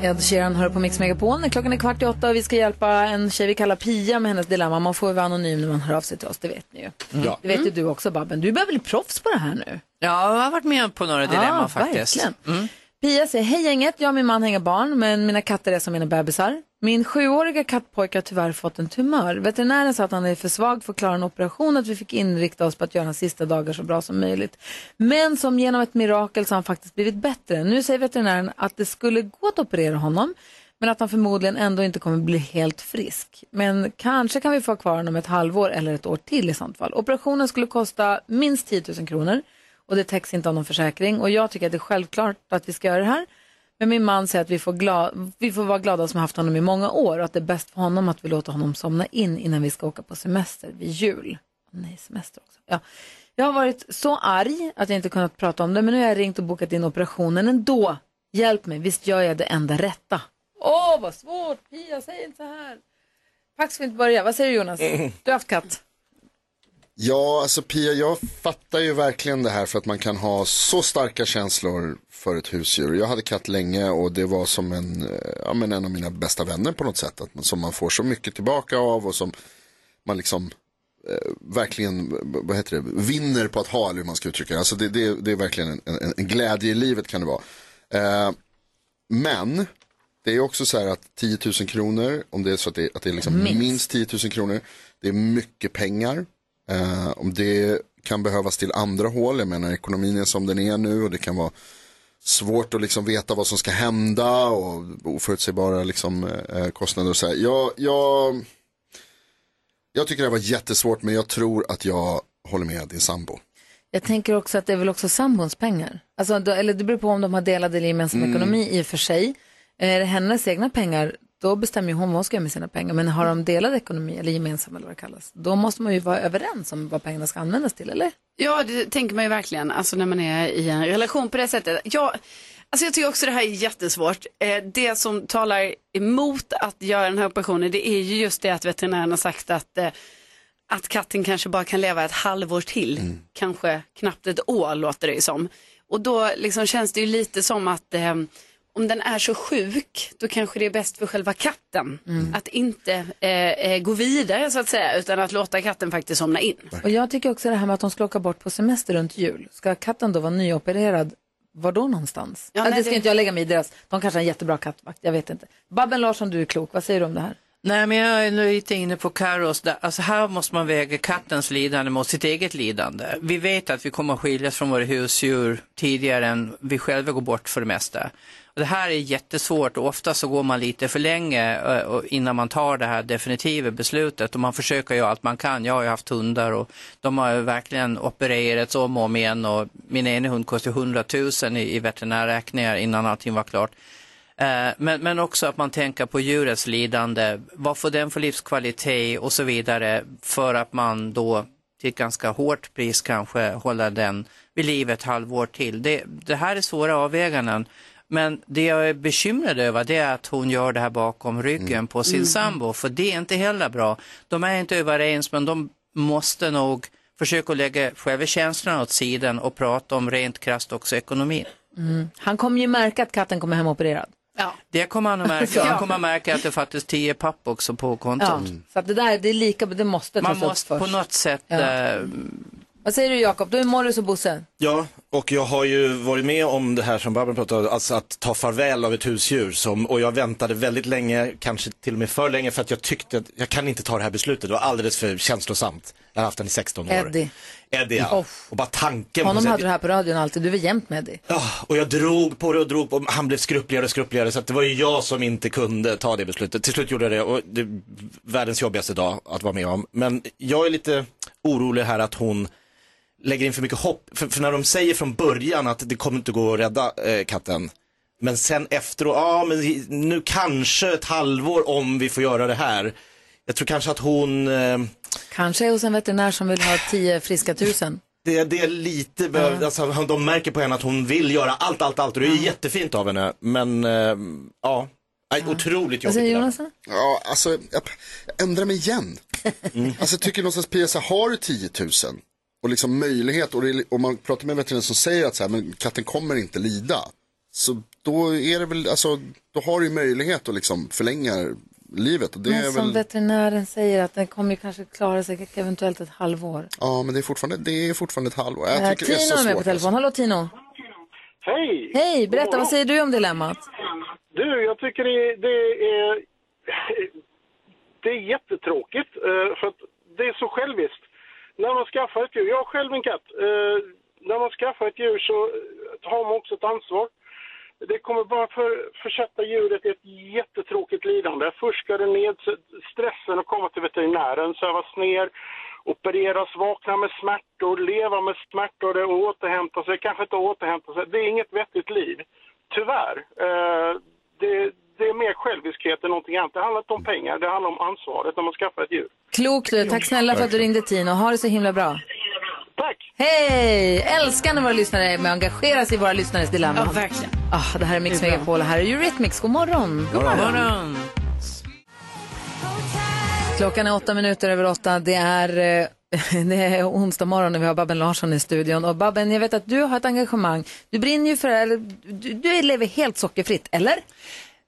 S1: Ed Sheeran hör på Mix Megapol. Klockan är kvart i åtta och vi ska hjälpa en tjej vi kallar Pia med hennes dilemma. Man får ju vara anonym när man hör av sig till oss, det vet ni ju.
S12: Ja.
S1: Det vet ju du också Babben. Du börjar bli proffs på det här nu.
S12: Ja, jag har varit med på några dilemman
S1: Ja,
S12: faktiskt.
S1: Ah, verkligen.
S12: Mm.
S1: Pia säger, hej gänget, jag och min man har inga barn, men mina katter är som mina bebisar. Min sjuåriga kattpojke har tyvärr fått en tumör. Veterinären sa att han är för svag för att klara en operation och att vi fick inrikta oss på att göra hans sista dagar så bra som möjligt. Men som genom ett mirakel så har han faktiskt blivit bättre. Nu säger veterinären att det skulle gå att operera honom, Men att han förmodligen ändå inte kommer bli helt frisk. Men kanske kan vi få ha kvar honom ett halvår eller ett år till i sånt fall. Operationen skulle kosta minst 10 000 kronor och det täcks inte av någon försäkring. Och jag tycker att det är självklart att vi ska göra det här. Men min man säger att vi får, gla- vi får vara glada som har haft honom i många år och att det är bäst för honom att vi låter honom somna in innan vi ska åka på semester vid jul. Åh Nej, semester också. Ja. Jag har varit så arg att jag inte kunnat prata om det, men nu har jag ringt och bokat in operationen ändå. Hjälp mig, visst gör jag det enda rätta? Åh, vad svårt! Pia, säg inte så här. Pax får inte börja. Vad säger du Jonas? Du har haft katt.
S4: Ja, alltså Pia, jag fattar ju verkligen det här för att man kan ha så starka känslor för ett husdjur. Jag hade katt länge och det var som en, eh, ja, men en av mina bästa vänner på något sätt. Att man, som man får så mycket tillbaka av och som man liksom eh, verkligen, v- vad heter det, vinner på att ha, eller hur man ska uttrycka det. Alltså det, det, det är verkligen en, en, en glädje i livet kan det vara. Eh, men det är också så här att 10 000 kronor, om det är så att det, att det är liksom minst.
S17: Minst.
S4: 10 000 kronor, det är mycket pengar. Eh, om det kan behövas till andra hål, jag menar ekonomin är som den är nu och det kan vara svårt att liksom veta vad som ska hända och oförutsägbara liksom, eh, kostnader och så här. Jag, jag, jag tycker det här var jättesvårt men jag tror att jag håller med din sambo.
S1: Jag tänker också att det är väl också sambons pengar. Alltså, då, eller det beror på om de har delad eller gemensam
S4: Mm.
S1: ekonomi i och för sig. Eh, Är det hennes egna pengar, då bestämmer ju hon vad hon ska göra med sina pengar. Men har de delad ekonomi eller gemensam eller vad det kallas, då måste man ju vara överens om vad pengarna ska användas till, eller?
S15: Ja, det tänker man ju verkligen, alltså när man är i en relation på det sättet. Jag, alltså jag tycker också det här är jättesvårt. Eh, det som talar emot att göra den här operationen, det är ju just det att veterinären har sagt att, eh, att katten kanske bara kan leva ett halvår till, kanske knappt ett år låter det ju som. Och då liksom känns det ju lite som att eh, om den är så sjuk, då kanske det är bäst för själva katten att inte eh, eh, gå vidare så att säga, utan att låta katten faktiskt somna in.
S1: Och jag tycker också det här med att de ska åka bort på semester runt jul. Ska katten då vara nyopererad, var då någonstans?
S15: Ja,
S1: alltså,
S15: nej,
S1: det ska
S15: det-
S1: inte jag lägga mig i deras, de kanske har en jättebra kattvakt, jag vet inte. Babben Larsson, du är klok, vad säger du om det här?
S12: Nej, men jag är nu lite inne på Carros. där. Alltså här måste man väga kattens lidande mot sitt eget lidande. Vi vet att vi kommer att skiljas från våra husdjur tidigare än vi själva går bort för det mesta. Och det här är jättesvårt och ofta så går man lite för länge eh, och innan man tar det här definitiva beslutet och man försöker göra allt man kan. Jag har ju haft hundar och de har ju verkligen opererats om och om igen och min ena hund kostade 100 000 i, i veterinärräkningar innan allting var klart. Eh, Men, men också att man tänker på djurets lidande, vad får den för livskvalitet och så vidare för att man då till ett ganska hårt pris kanske hålla den vid liv ett halvår till. Det, det här är svåra avväganden. Men det jag är bekymrad över det är att hon gör det här bakom ryggen på sin
S18: Mm.
S12: sambo för det är inte heller bra. De är inte överens men de måste nog försöka lägga själva känslorna åt sidan och prata om rent krasst också ekonomin.
S1: Mm. Han kommer ju märka att katten kommer hem opererad.
S12: Det kommer han att märka.
S1: Ja.
S12: Han kommer att märka att det fattiskt tio papp också på kontot.
S1: Ja.
S4: Mm.
S1: Så att det där, det är lika, det måste
S12: Man
S1: tas upp
S12: måste på
S1: först.
S12: något sätt...
S1: Ja.
S12: eh,
S1: Vad säger du Jakob? Du är Morris och Bosse.
S2: Ja, och jag har ju varit med om det här som Barbro pratade om, alltså att ta farväl av ett husdjur. Som, och jag väntade väldigt länge, kanske till och med för länge, för att jag tyckte att jag kan inte ta det här beslutet. Det var alldeles för känslosamt. Jag har haft den i 16 år.
S1: Eddie.
S2: Eddie, ja. Och bara tanken
S1: Honom
S2: på
S1: hade du här på radion alltid, du var jämt med dig.
S2: Och jag drog på det och drog på det. Han blev skrupligare och skrupligare. Så att det var ju jag som inte kunde ta det beslutet. Till slut gjorde jag det och det är världens jobbigaste dag att vara med om. Men jag är lite orolig här att hon lägger in för mycket hopp. För, för när de säger från början att det kommer inte gå att rädda eh, katten. Men sen efteråt, ja men i- nu kanske ett halvår om vi får göra det här. Jag tror kanske att hon, eh,
S1: Kanske är hos en veterinär som vill ha tio friska tusen.
S2: det, det är lite, behöv, alltså, han- de märker på henne att hon vill göra allt, allt, allt och det är jättefint av henne. Men eh, ja, Nej, otroligt
S1: Alltså,
S2: jobbigt. det där.
S4: Ja, alltså jag, jag ändrar mig igen. Alltså jag tycker någonstans Pia, så här, har du 10 000 och liksom möjlighet och, det, och man pratar med en veterinär som säger att så här, men katten kommer inte lida. Så då är det väl, alltså då har du ju möjlighet att liksom förlänga livet. Och det är
S1: Men som
S4: väl,
S1: veterinären säger att den kommer ju kanske klara sig eventuellt ett halvår.
S4: Ja, men det är fortfarande, det är fortfarande ett halvår.
S1: Eh,
S4: Jag tycker det är
S1: Tino
S4: så
S1: är med på
S4: svårt. alltså.
S1: telefon. Hallå Tino.
S19: Hej!
S1: Hej,
S19: God
S1: berätta
S19: morgon.
S1: vad säger du om dilemmat?
S19: Du, jag tycker det, det är... Det är jättetråkigt, eh, för att det är så själviskt. När man skaffar ett djur, jag har själv en katt, eh, när man skaffar ett djur så har man också ett ansvar. det kommer bara för, försätta djuret i ett jättetråkigt lidande. Först ska det ned, stressen att komma till veterinären, sövas ner, opereras, vakna med smärtor, leva med smärtor och återhämta sig, kanske inte återhämta sig. Det är inget vettigt liv, tyvärr. Eh, det, det är mer själviskhet än någonting annat. Det handlar inte om pengar, det handlar om ansvaret när man skaffar ett djur.
S1: Klokt du. Tack snälla för att du ringde Tino. Ha det så himla bra. Tack. Hej! Älskar när våra lyssnare är med och engagerar sig i våra lyssnares dilemma.
S15: Ja, verkligen.
S1: Ah, det här är Mix
S15: Det är bra.
S1: Megapol. Här är Eurythmics. God morgon.
S15: God morgon. God
S1: Klockan är åtta minuter över åtta. Det är, eh, det är onsdag morgon när vi har Babben Larsson i studion. Och Babben, jag vet att du har ett engagemang. Du brinner ju för, eller, du, du lever helt sockerfritt, eller?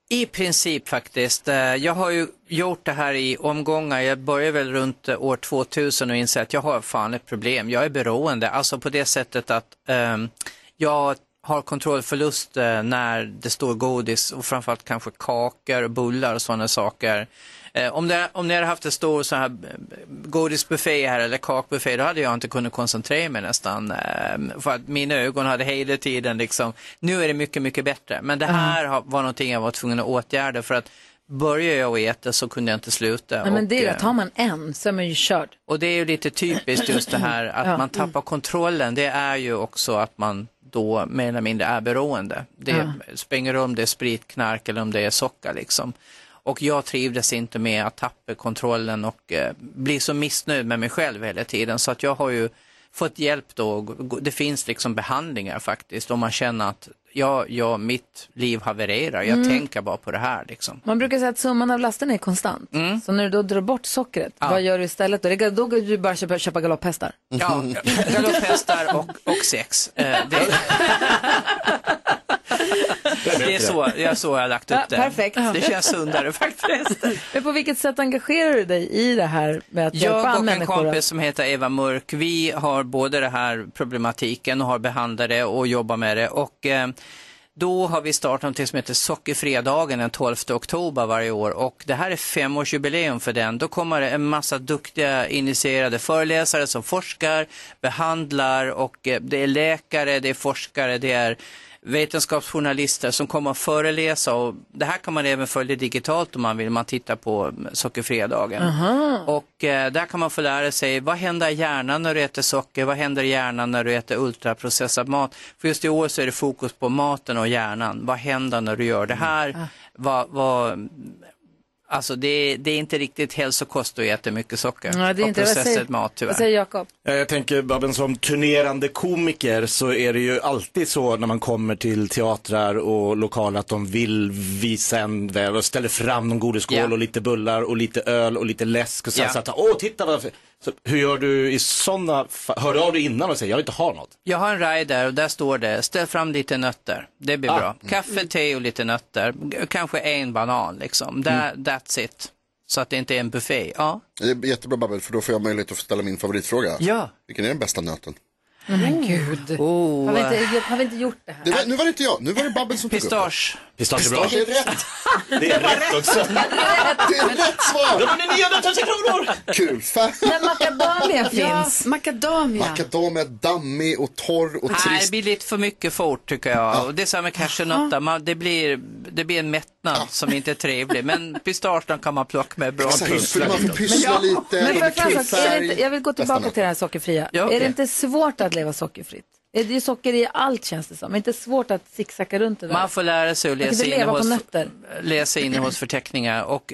S12: I princip faktiskt. Eh, Jag har ju gjort det här i omgångar. Jag började väl runt eh, år 2000 och insåg att jag har fan ett problem. Jag är beroende, alltså på det sättet att ehm, jag har kontrollförlust eh, när det står godis och framförallt kanske kakor, bullar och sådana saker. Eh, om, det, om ni hade haft en stor så här eh, godisbuffé här eller kakbuffé, då hade jag inte kunnat koncentrera mig nästan. Eh, för att mina ögon hade hela tiden liksom, nu är det mycket, mycket bättre. Men det här har- var någonting jag var tvungen att åtgärda för att började jag att äta så kunde jag inte sluta.
S1: Nej, men det är ju
S12: Och,
S1: att tar man en så är man ju körd.
S12: och det är ju lite typiskt just det här att
S1: Ja.
S12: man tappar kontrollen. Det är ju också att man då mer eller mindre är beroende. Det
S1: Ja.
S12: springer om det är sprit, knark eller om det är socker liksom. Och jag trivdes inte med att tappa kontrollen och eh, bli så missnöjd med mig själv hela tiden. Så att jag har ju fått hjälp då. Det finns liksom behandlingar faktiskt om man känner att ja, ja, mitt liv havererar. Jag
S1: Mm.
S12: tänker bara på det här liksom.
S1: Man brukar säga att summan av lasten är konstant. Så när du då drar bort sockret,
S12: Mm. Ja.
S1: vad gör du istället då? Det går- Då går du bara köpa, köpa galopphästar.
S12: Ja,
S1: Mm.
S12: galopphästar och, och sex. Eh, det... det är så, det är så jag har lagt upp
S1: Ja,
S12: det.
S1: perfekt.
S12: Det känns sundare faktiskt.
S1: Men på vilket sätt engagerar du dig i det här med att hjälpa
S12: Jag och en
S1: människor?
S12: kompis som heter Eva Mörk, vi har både den här problematiken och har behandlat det och jobbar med det. Och, eh, då har vi startat något som heter Sockerfredagen den 12 oktober varje år och det här är femårsjubileum för den. Då kommer det en massa duktiga initierade föreläsare som forskar, behandlar och eh, det är läkare, det är forskare, det är vetenskapsjournalister som kommer att föreläsa och det här kan man även följa digitalt om man vill, man tittar på mm, Sockerfredagen. Och eh, där kan man få lära sig vad händer i hjärnan när du äter socker, vad händer i hjärnan när du äter ultraprocessad mat. För just i år så är det fokus på maten och hjärnan. Vad händer när du gör det
S1: Mm.
S12: här?
S1: Ah.
S12: Vad, vad, alltså det, det är inte riktigt hälsokost att äta mycket socker
S1: Ja, det är
S12: och
S1: inte, vad
S12: processad
S1: säger,
S12: mat tyvärr.
S1: Vad säger Jakob?
S2: Ja, Jag tänker Babben, som turnerande komiker så är det ju alltid så när man kommer till teatrar och lokaler att de vill visa en väl och ställer fram någon godisskål
S12: Ja.
S2: och lite bullar och lite öl och lite läsk och sen
S12: Ja.
S2: så att, åh titta vad, så, hur gör du i sådana fall, hör du av dig innan och säger jag vill inte ha något?
S12: Jag har en raj där och där står det, ställ fram lite nötter. Det blir
S2: Ah.
S12: bra. Mm. Kaffe, te och lite nötter. G- Kanske en banan liksom. Där,
S2: Mm.
S12: That's it. Så att det inte är en buffé. Ja.
S4: Det är jättebra Babbel, för då får jag möjlighet att få ställa min favoritfråga.
S12: Ja.
S4: Vilken är den bästa nöten?
S1: Nej, men gud.
S12: Oh.
S1: Har, vi inte, har vi inte gjort det här?
S4: Det var, nu var det inte jag, nu var det Babbel som tog upp det.
S12: Pistage.
S2: Pistage
S4: är bra. Pistage är rätt.
S2: Det är rätt också.
S4: Det är rätt svar!
S2: Ja, men det är 900 000 kronor!
S4: Kul!
S1: Men macadamia finns.
S15: Ja, macadamia.
S4: Macadamia, dammig och torr och
S12: Nej, det
S4: trist.
S12: blir lite för mycket fort tycker jag. Och det är samma med cashewnötter. Man- Det blir, det blir en mättnad som inte är trevlig. Men pistagen kan man plocka med bra
S4: Exakt, för man får pyssla
S12: Ja.
S4: lite,
S1: Men för
S4: de är
S1: fan, alltså, är det
S4: kullfärg.
S1: inte, jag vill gå tillbaka till det här sockerfria.
S12: Ja, okej.
S1: Är det inte svårt att leva sockerfritt? Är det ju socker i allt känns det som. Är det inte svårt att zigzacka runt det där?
S12: Man får lära sig att
S1: Man kan
S12: läsa,
S1: inte leva på
S12: innehålls,
S1: nötter.
S12: läsa innehållsförteckningar och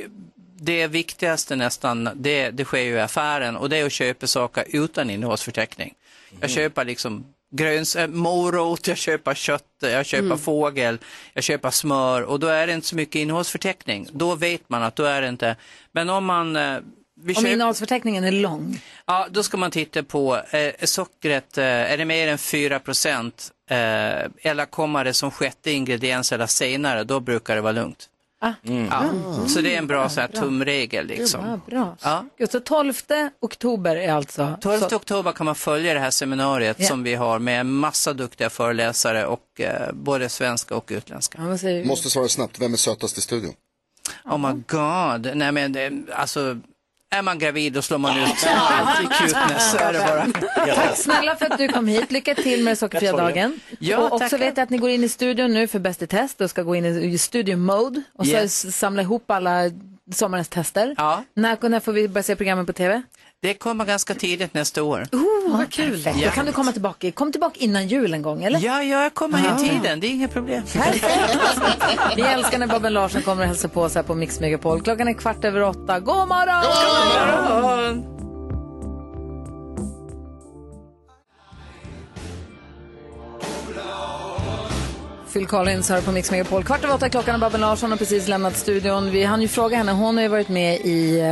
S12: det viktigaste nästan, det, det sker ju i affären och det är att köpa saker utan innehållsförteckning. Jag köper liksom gröns, äh, morot, jag köper kött, jag köper
S18: Mm.
S12: fågel, jag köper smör och då är det inte så mycket innehållsförteckning. Då vet man att då är det inte, men om man eh, vi
S1: Om
S12: köper-
S1: innehållsförteckningen är lång.
S12: Ja, då ska man titta på eh, sockret, eh, är det mer än 4 procent eh, eller kommer det som sjätte ingrediens eller senare, då brukar det vara lugnt.
S1: Ah.
S12: Ja.
S1: Mm.
S12: Så det är en bra, så här, tumregel. Liksom.
S1: Ja, Ah, bra.
S12: Ja.
S1: Gud, så 12 oktober är alltså...
S12: 12
S1: så-
S12: oktober kan man följa det här seminariet
S1: Ja.
S12: som vi har med en massa duktiga föreläsare, och eh, både svenska och utländska.
S1: Ja, vad säger du?
S4: Måste svara snabbt, vem är sötast i studion?
S12: Oh my god, nej men det, alltså är man gravid då slår man ut allt i cuteness. Så är det bara.
S1: Tack snälla för att du kom hit. Lycka till med den sockerfria
S12: Jag tror det.
S1: dagen.
S12: Ja,
S1: och också
S12: tackar.
S1: vet jag att ni går in i studion nu för Bäst i test och ska gå in i studio-mode och så
S12: Yes.
S1: samla ihop alla sommarens tester.
S12: Ja.
S1: När, när får vi börja se programmen på tv?
S12: Det kommer ganska tidigt nästa år.
S1: Oh, vad kul! Då
S12: Ja.
S1: kan du komma tillbaka. Kom tillbaka innan jul en gång, eller?
S12: Ja, jag kommer i tiden. Det är inga problem.
S1: Vi älskar när Babben Larsson kommer och hälsar på oss här på Mix Megapol. Klockan är kvart över åtta. God morgon!
S12: God
S1: Phil Collins hör på Mix Megapol. Kvart över åtta klockan och Babben Larsson har precis lämnat studion. Vi hann ju fråga henne. Hon har ju varit med i eh,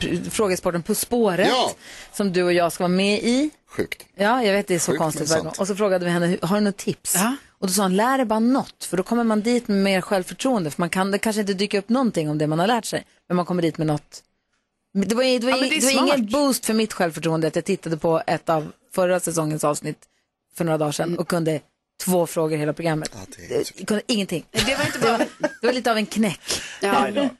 S1: pr- frågesporten På spåret.
S4: Ja.
S1: Som du och jag ska vara med i.
S4: Sjukt.
S1: Ja, jag vet det är så
S4: Sjukt, men
S1: konstigt. verkligen.
S4: sant.
S1: Och så frågade vi henne, har du något tips? Och då sa hon, lär dig bara något. För då kommer man dit med mer självförtroende. För man kan, det kanske inte dyker upp någonting om det man har lärt sig. Men man kommer dit med något. Men Det var, det var,
S5: Ja, men det är
S1: det var
S5: smart.
S1: ingen boost för mitt självförtroende att jag tittade på ett av förra säsongens avsnitt för några dagar
S5: Mm.
S1: sedan och kunde två frågor i hela programmet. Jag kunde ingenting. Det var, inte bara... det, var, lite av en knäck.
S5: Ja. Men,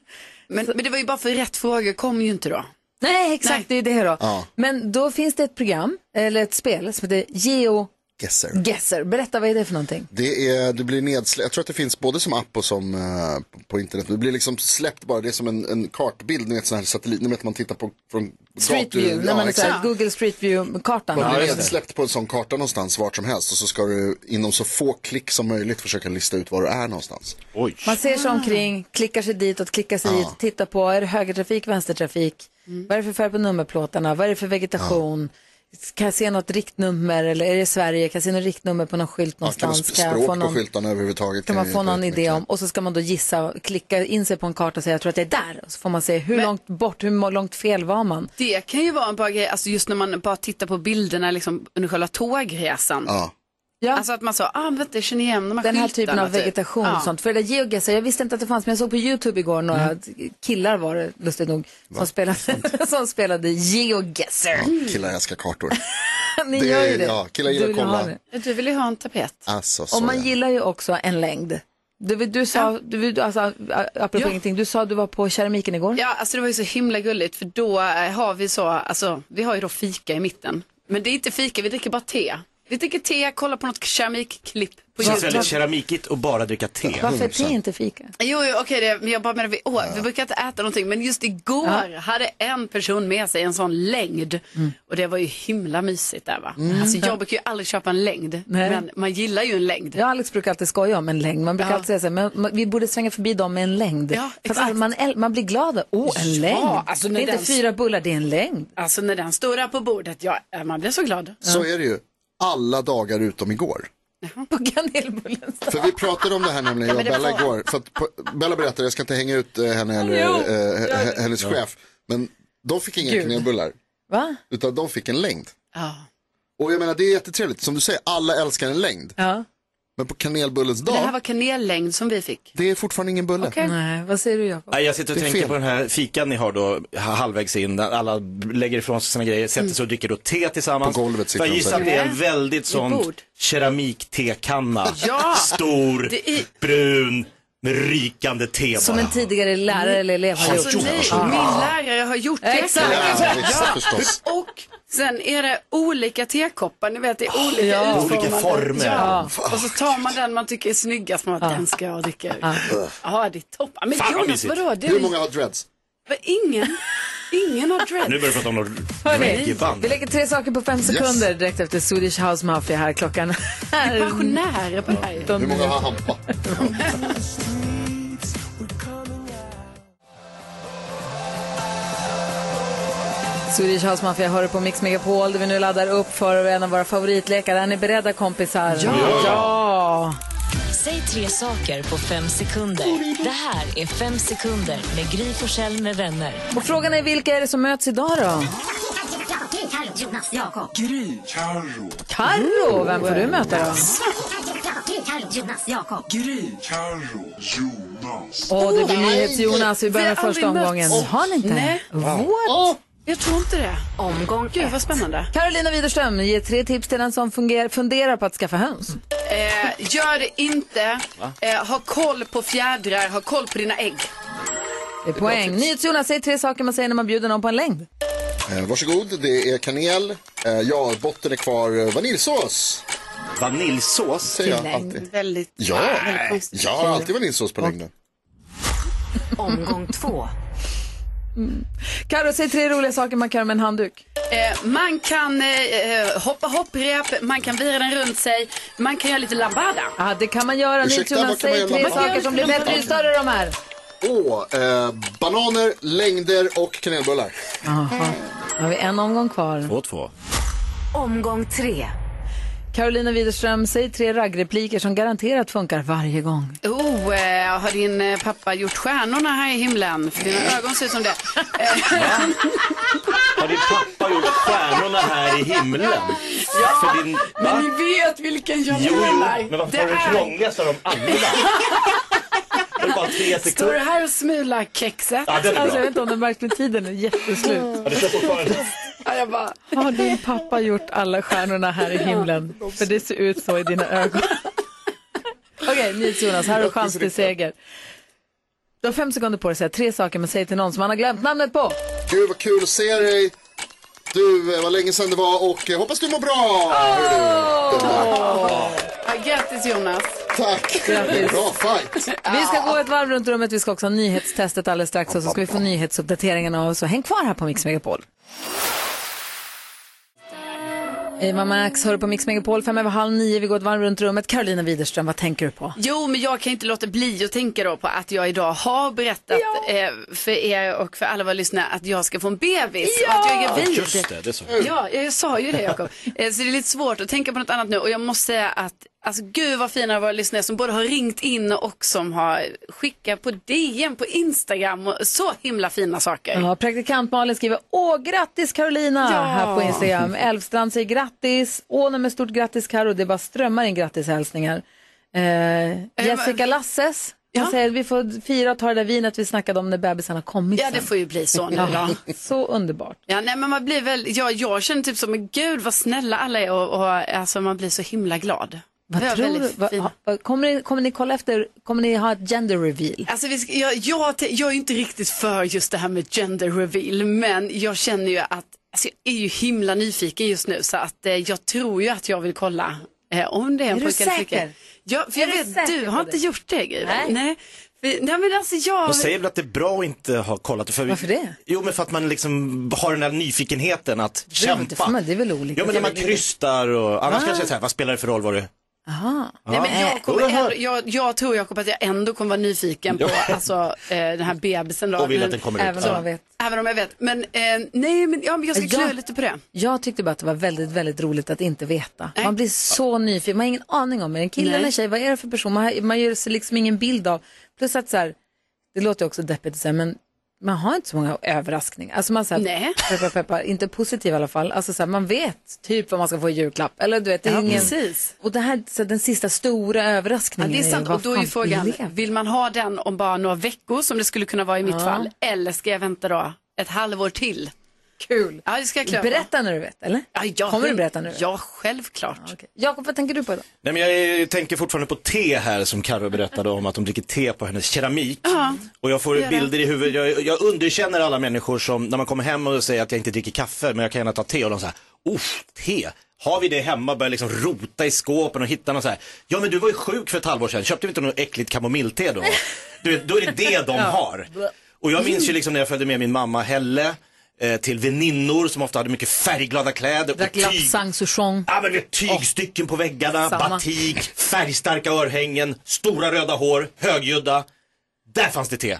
S5: men det var ju bara för rätt frågor kom ju inte då.
S1: Nej, exakt, det är ju det då.
S5: Ja.
S1: Men då finns det ett program, eller ett spel, som heter Geo
S4: Guesser.
S1: Guesser. Berätta, vad är det för någonting?
S4: Det, är, det blir nedsläppt, jag tror att det finns både som app och som eh, på internet. Det blir liksom släppt bara, det är som en, en kartbild, ni vet sån här satellit, ni vet man tittar på från
S1: Street View, när man är så här, Google Street View-kartan.
S4: Man blir nedsläppt på en sån karta någonstans vart som helst och så ska du inom så få klick som möjligt försöka lista ut var du är någonstans. Oj.
S1: Man ser sig omkring, klickar sig ditåt, klickar sig hit, tittar på, är det högertrafik, vänstertrafik? Vad är det för färg på nummerplåtarna? Vad är det för vegetation? Kan jag se något riktnummer eller är det Sverige? Kan jag se något riktnummer på någon skylt
S4: Ja, kan man
S1: någonstans?
S4: sp-
S1: jag
S4: språk
S1: få
S4: på
S1: någon,
S4: skyltarna överhuvudtaget?
S1: kan man
S4: ju
S1: få
S4: hjälpa
S1: någon
S4: ut
S1: idé
S4: mycket.
S1: om? Och så ska man då gissa, klicka in sig på en karta och säga jag tror att jag är där. Och så får man se hur långt bort, hur må- långt fel var man?
S5: Det kan ju vara en bra grej, alltså just när man bara tittar på bilderna liksom, under själva tågresan.
S4: Ja.
S5: Alltså att man sa, ah, men vänta, jag känner igen de här
S1: Den här
S5: skyltarna,
S1: typen av
S5: typ.
S1: vegetation
S5: Ja.
S1: och sånt. För det där geoguessar, jag visste inte att det fanns, men jag såg på YouTube igår några killar var det, lustigt nog, som spelade, som spelade geoguesser.
S4: Killar älskar kartor.
S1: Ni
S4: Det-
S1: gör ju det.
S4: ja, killar gillar
S1: Du vill
S4: att kolla.
S1: ha det.
S5: Du vill ju ha en tapet.
S4: Alltså,
S1: Och
S4: sorry.
S1: man gillar ju också en längd. Du, du sa, du, du- alltså, apropå
S5: Ja.
S1: ingenting, du sa att du var på keramiken igår.
S5: Ja, alltså det var ju så himla gulligt för då eh, har vi så, alltså vi har ju då fika i mitten. Men det är inte fika, vi dricker bara te. Vi dricker te, kollar på något keramikklipp på
S2: Det känns
S5: YouTube.
S2: väldigt keramikigt att bara dricka te.
S1: Varför är te inte fika?
S5: Jo, jo okej, det- men jag bara menar, vi, åh, vi brukar inte äta någonting, men just igår hade en person med sig en sån längd. Och det var ju himla mysigt där va.
S1: Mm.
S5: Alltså jag brukar ju aldrig köpa en längd,
S1: Nej.
S5: men man gillar ju en längd.
S1: Jag och Alex brukar alltid skoja om en längd. Man brukar alltid säga så här, men man- vi borde svänga förbi dem med en längd.
S5: Ja,
S1: För att all- man, äl- man blir glad av, åh, en
S5: Ja,
S1: längd.
S5: alltså
S1: det
S5: när
S1: är inte
S5: den-
S1: fyra bullar, det är en längd.
S5: Alltså när den står där på bordet, ja, man blir så glad.
S4: Så är det ju alla dagar utom igår.
S1: På kanelbullen.
S4: För vi pratade om det här nämligen, jag och
S5: Ja, men det
S4: Bella
S5: får-
S4: igår. För att på- Bella berättade, jag ska inte hänga ut eh, henne eller
S5: Jo,
S4: eh, he-
S5: gör det.
S4: hennes
S5: Ja.
S4: chef. Men de fick inga
S5: Gud.
S4: kanelbullar.
S1: Va?
S4: Utan de fick en längd.
S5: Ja.
S4: Och jag menar det är jättetrevligt, som du säger, alla älskar en längd.
S1: Ja.
S4: Men på kanelbullens
S5: Det här
S4: dag,
S5: var kanellängd som vi fick. Mm.
S4: det är fortfarande ingen bulle.
S1: Nej, vad säger du Jakob?
S2: Nej, jag sitter och
S4: Det är
S2: tänker
S4: fel.
S2: på den här fikan ni har då ha- halvvägs in. där Alla lägger ifrån sig sina grejer, sätter sig och dricker då te tillsammans.
S4: På golvet sitter
S2: För jag
S4: de
S2: gissar att det är en
S5: säkert.
S2: väldigt
S5: Vid
S2: sån
S5: bord.
S2: keramiktekanna.
S5: Ja.
S2: Stor,
S5: Det är-
S2: brun, med rykande te bara.
S1: Som en tidigare lärare eller elev har
S5: Alltså,
S1: gjort.
S5: nej,
S1: Ja.
S5: min lärare har gjort det.
S1: Exakt. Ja,
S4: exakt, förstås.
S5: Och sen är det olika tekoppar, ni vet det är olika
S1: Ja.
S5: utformade.
S1: Olika former.
S5: Ja. Och så tar man den man tycker är snyggast, man bara, den ska jag dricka ur. Ja, det är toppen. Men
S2: Fan, vad
S5: Jonas,
S2: mysigt.
S5: vadå? Det är
S4: Hur många har dreads?
S5: Men Ingen. Ingen har dreads.
S2: Nu börjar vi prata om något
S1: Hörrni,
S2: reggaeband.
S1: vi lägger tre saker på fem sekunder direkt efter Swedish House Mafia här. Klockan är...
S5: Pensionärer på dig.
S4: Hur många har hampa?
S1: Swedish House Mafia hör på Mix Megapol där vi nu laddar upp för en av våra favoritlekar. Är ni beredda kompisar?
S6: Ja!
S1: ja.
S6: Säg tre saker på fem sekunder. Det här är Fem sekunder med Gry Forssell med vänner.
S1: Och frågan är vilka är det som möts idag då?
S6: Jonas, Jakob.
S9: Gry. Carro.
S1: Carro, vem får du möta då?
S9: Jonas, Jakob. Gry. Carro. Jonas.
S1: Åh, det blir NyhetsJonas. Vi börjar med första omgången. Har ni inte?
S5: Nej.
S1: What?
S5: Jag tror inte det. Omgång Gud, vad spännande.
S1: Carolina Widerström ger tre tips till den som fungerar, funderar på att skaffa höns.
S5: Eh, gör det inte. Eh, ha koll på fjädrar, ha koll på dina ägg.
S1: Det är poäng. NyhetsJonas, säg tre saker man säger när man bjuder någon på en längd.
S4: Eh, varsågod, det är kanel. Eh, ja, botten är kvar eh, vaniljsås.
S2: Vaniljsås?
S4: Säger jag alltid.
S15: Väldigt,
S4: Ja,
S5: Ah,
S15: väldigt konstigt.
S4: jag har alltid vaniljsås på längden.
S15: Omgång två.
S1: Karo, säg tre roliga saker man kan göra med en handduk.
S5: Eh, man kan eh, hoppa hopprep, man kan vira den runt sig, man kan göra lite lambada.
S1: Ja, det kan man göra.
S4: Ursäkta,
S1: NyhetsJonas,
S4: vad kan man
S1: säg
S4: göra
S1: tre
S4: med
S1: saker
S4: en handduk?
S1: som blir bättre ju större de är.
S4: Åh, eh, bananer, längder och kanelbullar.
S1: Aha. Då har vi en omgång kvar.
S2: Två, två.
S1: Omgång tre. Carolina Widerström, säg tre raggrepliker som garanterat funkar varje gång.
S5: Oh, eh, har din eh, pappa gjort stjärnorna här i himlen? För dina ögon ser ut som det.
S2: Har din pappa gjort stjärnorna här i himlen?
S15: Ja,
S2: För din...
S15: men
S2: Va?
S15: ni vet vilken jag
S2: Jo, jo,
S15: menar.
S2: men varför
S15: Det
S2: var det
S15: är-
S2: krångligaste av dem alla? Det är bara tre
S15: Står du
S2: sekunder.
S15: här och smular kexet?
S2: Ja, den är bra.
S1: Alltså, jag vet inte om du märkt med tiden är jätteslut.
S2: Ja, det känns fortfarande-
S15: Ja, jag bara...
S1: Har din pappa gjort alla stjärnorna här i himlen? För det ser ut så i dina ögon. Okej, NyhetsJonas, här har du chans till seger. Du har fem sekunder på dig att säga tre saker man säger till någon som man har glömt namnet på.
S4: Gud vad kul att se dig. Du, eh, vad länge sedan det var och eh, hoppas du mår bra.
S15: Ja, grattis Jonas.
S4: Tack.
S1: Grattis.
S4: Bra fight.
S1: Vi ska gå ett varv runt rummet, vi ska också ha nyhetstestet alldeles strax och så ska vi få nyhetsuppdateringarna av så häng kvar här på Mix Megapol. Eva Max hör på Mix Megapol, fem över halv nio, vi går ett varv runt rummet. Carolina Widerström, vad tänker du på?
S5: Jo, men jag kan inte låta bli att tänka då på att jag idag har berättat eh, för er och för alla våra lyssnare att jag ska få en bebis och att jag är gravid.
S2: Just det, det sa jag.
S5: Ja, jag sa ju det Jakob. Eh, Så det är lite svårt att tänka på något annat nu och jag måste säga att Alltså gud vad fina våra lyssnare som både har ringt in och som har skickat på DM på Instagram och så himla fina saker.
S1: Ja, praktikant Malin skriver åh grattis Carolina
S5: Ja.
S1: här på Instagram. Elfstrand säger grattis, Åh nej, men stort grattis Karo, det bara strömmar in grattishälsningar. Eh, Jessica Lasses, hon säger att vi får fira och ta det där vinet vi snackade om när bebisen har kommit.
S5: Ja, det
S1: sen."
S5: får ju bli så nu
S1: Ja,
S5: då.
S1: Så underbart.
S5: Ja, nej, men man blir väl, ja, jag känner typ som, men gud vad snälla alla är och, och alltså, man blir så himla glad. Det
S1: Vad
S5: var
S1: tror du?
S5: väldigt
S1: Vad-
S5: fint.
S1: ha- vad- kommer, ni, kommer ni kolla efter, kommer ni ha ett gender reveal?
S5: Alltså, vi ska, jag, jag, te- jag är ju inte riktigt för just det här med gender reveal, men jag känner ju att alltså, jag är ju himla nyfiken just nu så att eh, jag tror ju att jag vill kolla eh, om det är en
S15: Är du
S5: pojke eller flicka.
S15: säker?
S5: Ja, för jag
S15: Är du
S5: vet,
S15: säker
S5: du
S15: på
S5: har
S15: det?
S5: inte gjort det Gry. va?
S15: Nej.
S5: Nej. För- nej, men alltså jag...
S2: De säger väl att det är bra att inte ha kollat. För...
S1: Varför det?
S2: Jo, men för att man liksom har den här nyfikenheten att
S1: Det är väl inte för
S2: kämpa.
S1: mig, det är väl olika.
S2: Jo, men när man krystar och annars
S1: Ah.
S2: kanske jag säger, vad spelar det för roll vad du...
S1: Aha.
S5: Nej, men jag, kommer
S2: Jo, det
S5: ändå,
S2: hör-
S5: jag, jag tror Jakob att jag ändå kommer vara nyfiken på alltså, eh, den här bebisen. Då.
S2: Och vill
S5: Men-
S2: att den kommer ut.
S1: Även om
S2: Ja.
S1: man vet.
S5: Även om jag vet. Men, eh, nej, men, ja, men jag ska
S1: Jag-
S5: klura lite på det.
S1: Jag tyckte bara att det var väldigt, väldigt roligt att inte veta. Man blir så nyfiken, man har ingen aning om, är det en kille
S5: Nej.
S1: eller en tjej, vad är det för person? Man, har- man gör sig liksom ingen bild av. Plus att så här, det låter ju också deppigt att säga, men man har inte så många överraskningar. Alltså man säger,
S5: Nej.
S1: peppar, peppar, inte positiv i alla fall. Alltså så här, man vet typ vad man ska få i julklapp. Eller du vet, det är
S5: Ja,
S1: ingen...
S5: precis.
S1: Och det här, så här, den sista stora
S5: Ja,
S1: överraskningen
S5: det är sant.
S1: Eh, vad
S5: Och då är
S1: fan
S5: ju frågan,
S1: lever?
S5: vill man ha den om bara några veckor som det skulle kunna vara i mitt
S1: Ja.
S5: fall? Eller ska jag vänta då ett halvår till?
S1: Kul.
S5: Ja, det ska jag klura på.
S1: Berätta när du vet, eller?
S5: Ja, jag,
S1: Kommer du berätta nu?
S5: Ja, självklart.
S1: Jakob, vad tänker du på idag?
S2: Nej, men jag eh, tänker fortfarande på te här som Carro berättade om att de dricker te på hennes keramik.
S5: Ja.
S2: Och jag får
S5: Gör det.
S2: bilder i huvudet, jag, jag underkänner alla människor som när man kommer hem och säger att jag inte dricker kaffe men jag kan gärna ta te och de säger usch, te. Har vi det hemma? Börjar liksom rota i skåpen och hitta någon så här. Ja men du var ju sjuk för ett halvår sedan, köpte vi inte något äckligt kamomillte då? Du, vet, då är det det de har. Och jag minns ju liksom när jag följde med min mamma Helle eh, till väninnor som ofta hade mycket färgglada kläder.
S1: Drack
S2: och tyg-
S1: lapsang souchong.
S2: Ja men det är tygstycken på väggarna,
S1: Samma.
S2: batik, färgstarka örhängen, stora röda hår, högljudda. Där fanns det te.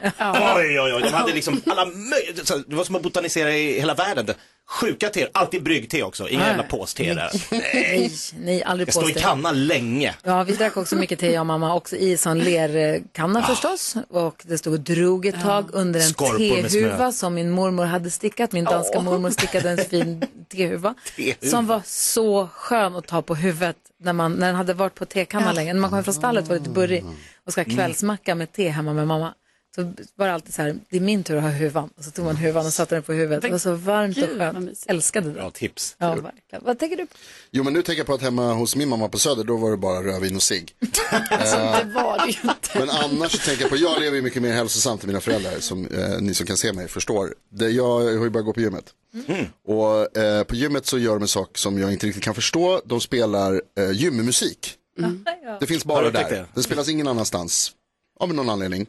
S2: Oj, oj, oj. De hade liksom alla möjliga, så det var som att botanisera i hela världen. Sjuka te, alltid bryggte också, inga
S1: Nej.
S2: jävla påste där.
S1: Nej, nej, aldrig
S2: Jag står i
S1: påstå.
S2: kanna länge.
S1: Ja, vi drack också mycket te, jag och mamma, också i sån lerkanna förstås. Och det stod och drog ett tag under en
S2: Skorpor med
S1: tehuva
S2: snö.
S1: som min mormor hade stickat. Min danska mormor stickade en fin tehuva
S2: Tehuva.
S1: som var så skön att ta på huvudet när, man, när den
S2: Mm.
S1: hade varit på tekanna länge. När man kom hem från stallet var det lite burrig och ska ha kvällsmacka med te hemma med mamma. så var det alltid så här, det är min tur att ha huvan. Och så tog man huvan och satte den på huvudet. Det var så varmt och skönt. Älskade det.
S2: Bra tips.
S1: Ja, verkligen. Vad tänker du på?
S4: Jo men nu tänker jag på att hemma hos min mamma på Söder, då var det bara rödvin och cigg. Eh,
S1: Det var det ju inte.
S4: Men ah, annars så tänker jag på, jag lever ju mycket mer hälsosamt än mina föräldrar, som eh, ni som kan se mig förstår. Det, jag har ju börjat gå på gymmet.
S2: Mm.
S4: Och eh, på gymmet så gör de en sak som jag inte riktigt kan förstå, de spelar eh, gymmusik. Mm. Det finns
S2: Har
S4: bara
S2: du upptäckt
S4: där, den spelas ingen annanstans, av någon anledning,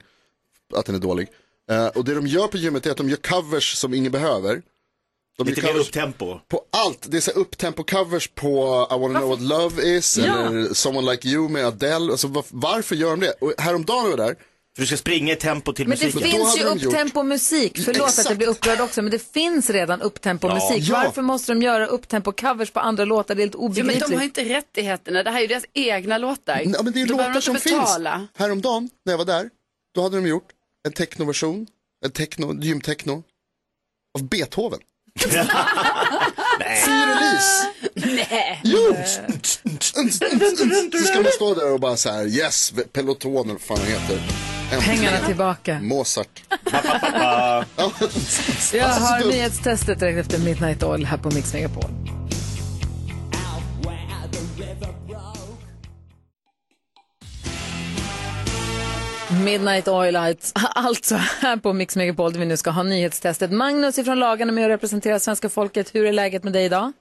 S4: att den är dålig. Eh, och det de gör på gymmet är att de gör covers som ingen behöver. De
S2: Lite
S4: gör
S2: mer
S4: covers-
S2: upptempo.
S4: på allt. Det är så här upptempo-covers på I wanna know what love is
S2: Ja.
S4: eller Someone like you med Adele. Alltså, var, varför gör de det? Och häromdagen var jag där.
S2: För du ska springa i tempo till
S1: Men det finns ju upptempo-musik. Förlåt att jag blir upprörd också, men det finns redan upptempo-musik.
S15: Ja. Ja.
S1: Varför måste de göra upptempo-covers på andra låtar? Det är helt
S15: Ja, men
S1: obegripligt.
S15: de har ju inte rättigheterna, det här är ju deras egna låtar.
S4: Ja, men det är
S15: Då behöver
S4: låtar
S15: de
S4: som
S15: inte betala.
S4: finns. Häromdagen när jag var där, då hade de gjort en technoversion, en techno, gymtechno av Beethoven. Fy release!
S15: Nej.
S4: Jo! Så ska man stå där och bara så här, yes, Peloton eller vad fan han heter. Äntligen.
S1: Pengarna tillbaka.
S15: Mm.
S4: Mozart.
S2: Ja.
S1: Jag
S4: Alltså, så
S1: har
S4: dumt.
S1: nyhetstestet direkt efter Midnight Oil här på Mix Megapol. Midnight Oil Lights, alltså här på Mix Megapol där vi nu ska ha nyhetstestet. Magnus ifrån Lagan är med och representerar svenska folket. Hur är läget med dig idag?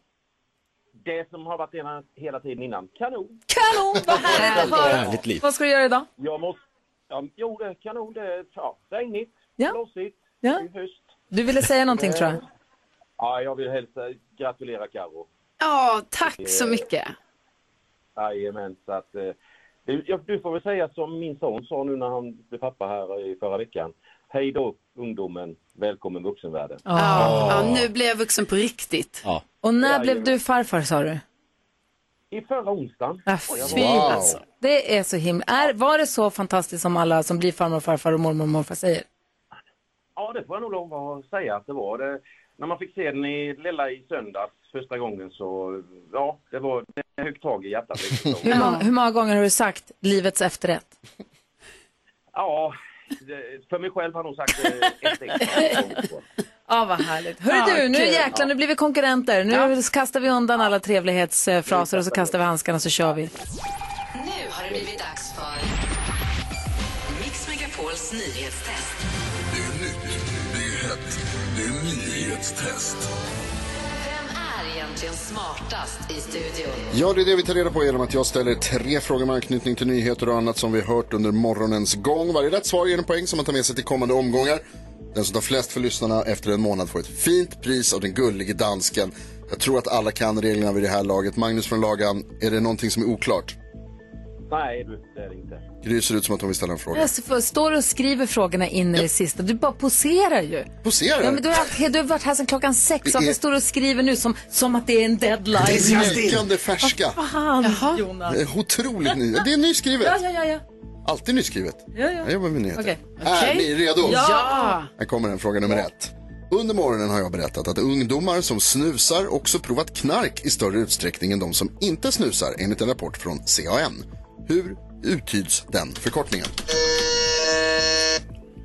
S17: Det som har varit ena, hela tiden innan. Kanon!
S1: Kanon! Vad härligt att höra! Härligt liv. Vad ska du göra idag?
S17: Jag måste... Ja, jo, det är kanon. Det är ja, regnigt,
S1: Ja.
S17: blåsigt,
S1: Ja.
S17: det är höst.
S1: Du ville säga någonting
S17: Men-
S1: tror jag.
S17: Ja, jag vill hälsa, gratulera Karo.
S5: Ja, tack så mycket.
S17: Jajamän, så att... Eh, du, ja, du får väl säga som min son sa nu när han blev pappa här i förra veckan. Hej då ungdomen, välkommen vuxenvärlden.
S1: Ah.
S5: Ja, ja, nu blir jag vuxen på riktigt.
S17: Ja.
S1: Och när
S17: Jajamän.
S1: blev du farfar sa du?
S17: I förra onsdagen.
S1: Ah, fy alltså. Det är så himla... Är, var det så fantastiskt som alla som blir farmor och farfar och mormor och morfar säger?
S17: Ja, det får jag nog lov att säga att det var. Det, när man fick se den i lilla i söndags första gången så, ja, det var det högg tag i hjärtat.
S1: Hur, många, hur många gånger har du sagt livets efterrätt?
S17: ja, det, för mig själv har jag nog sagt det ett extra gång.
S1: Ja, vad härligt. Hörru
S17: Ja,
S1: du, nu
S17: kul.
S1: jäklar, nu blir vi konkurrenter. Nu kastar vi undan alla trevlighetsfraser och så kastar vi handskarna och så kör vi.
S6: Nu har det blivit dags för Mix Megapols nyhetstest.
S7: Det är nytt, det är hett, det är nyhetstest.
S6: Vem är egentligen smartast i studion?
S4: Ja, det är det vi tar reda på genom att jag ställer tre frågor med anknytning till nyheter och annat som vi hört under morgonens gång. Varje rätt svar ger en poäng som man tar med sig till kommande omgångar. Den som tar flest för lyssnarna efter en månad får ett fint pris av den gullige dansken. Jag tror att alla kan reglerna vid det här laget. Magnus från Lagan, är det någonting som är oklart?
S17: Nej, du, det är det inte.
S4: Gry ser ut som att hon vill ställa en fråga.
S1: Jag s- f- står och skriver frågorna in i det sista. Du bara poserar ju.
S4: Poserar?
S1: Ja, men du, har haft, du har varit här sedan klockan sex.
S4: Det
S1: Varför
S4: är-
S1: står du och skriver nu som, som att det är en deadline?
S4: Det är rykande färska.
S1: Vad fan, Jonas.
S4: Eh, Otroligt ny. Det är nyskrivet.
S1: Ah, Ja, ja, ja. ja.
S4: Alltid nyskrivet.
S1: ja, ja.
S4: Jag jobbar med nyheter.
S1: Okej.
S4: Är ni redo?
S5: Ah.
S1: Ja!
S4: Här kommer en fråga nummer ett. Under morgonen har jag berättat att ungdomar som snusar också provat knark i större utsträckning än de som inte snusar enligt en rapport från CAN. Hur uttyds den förkortningen?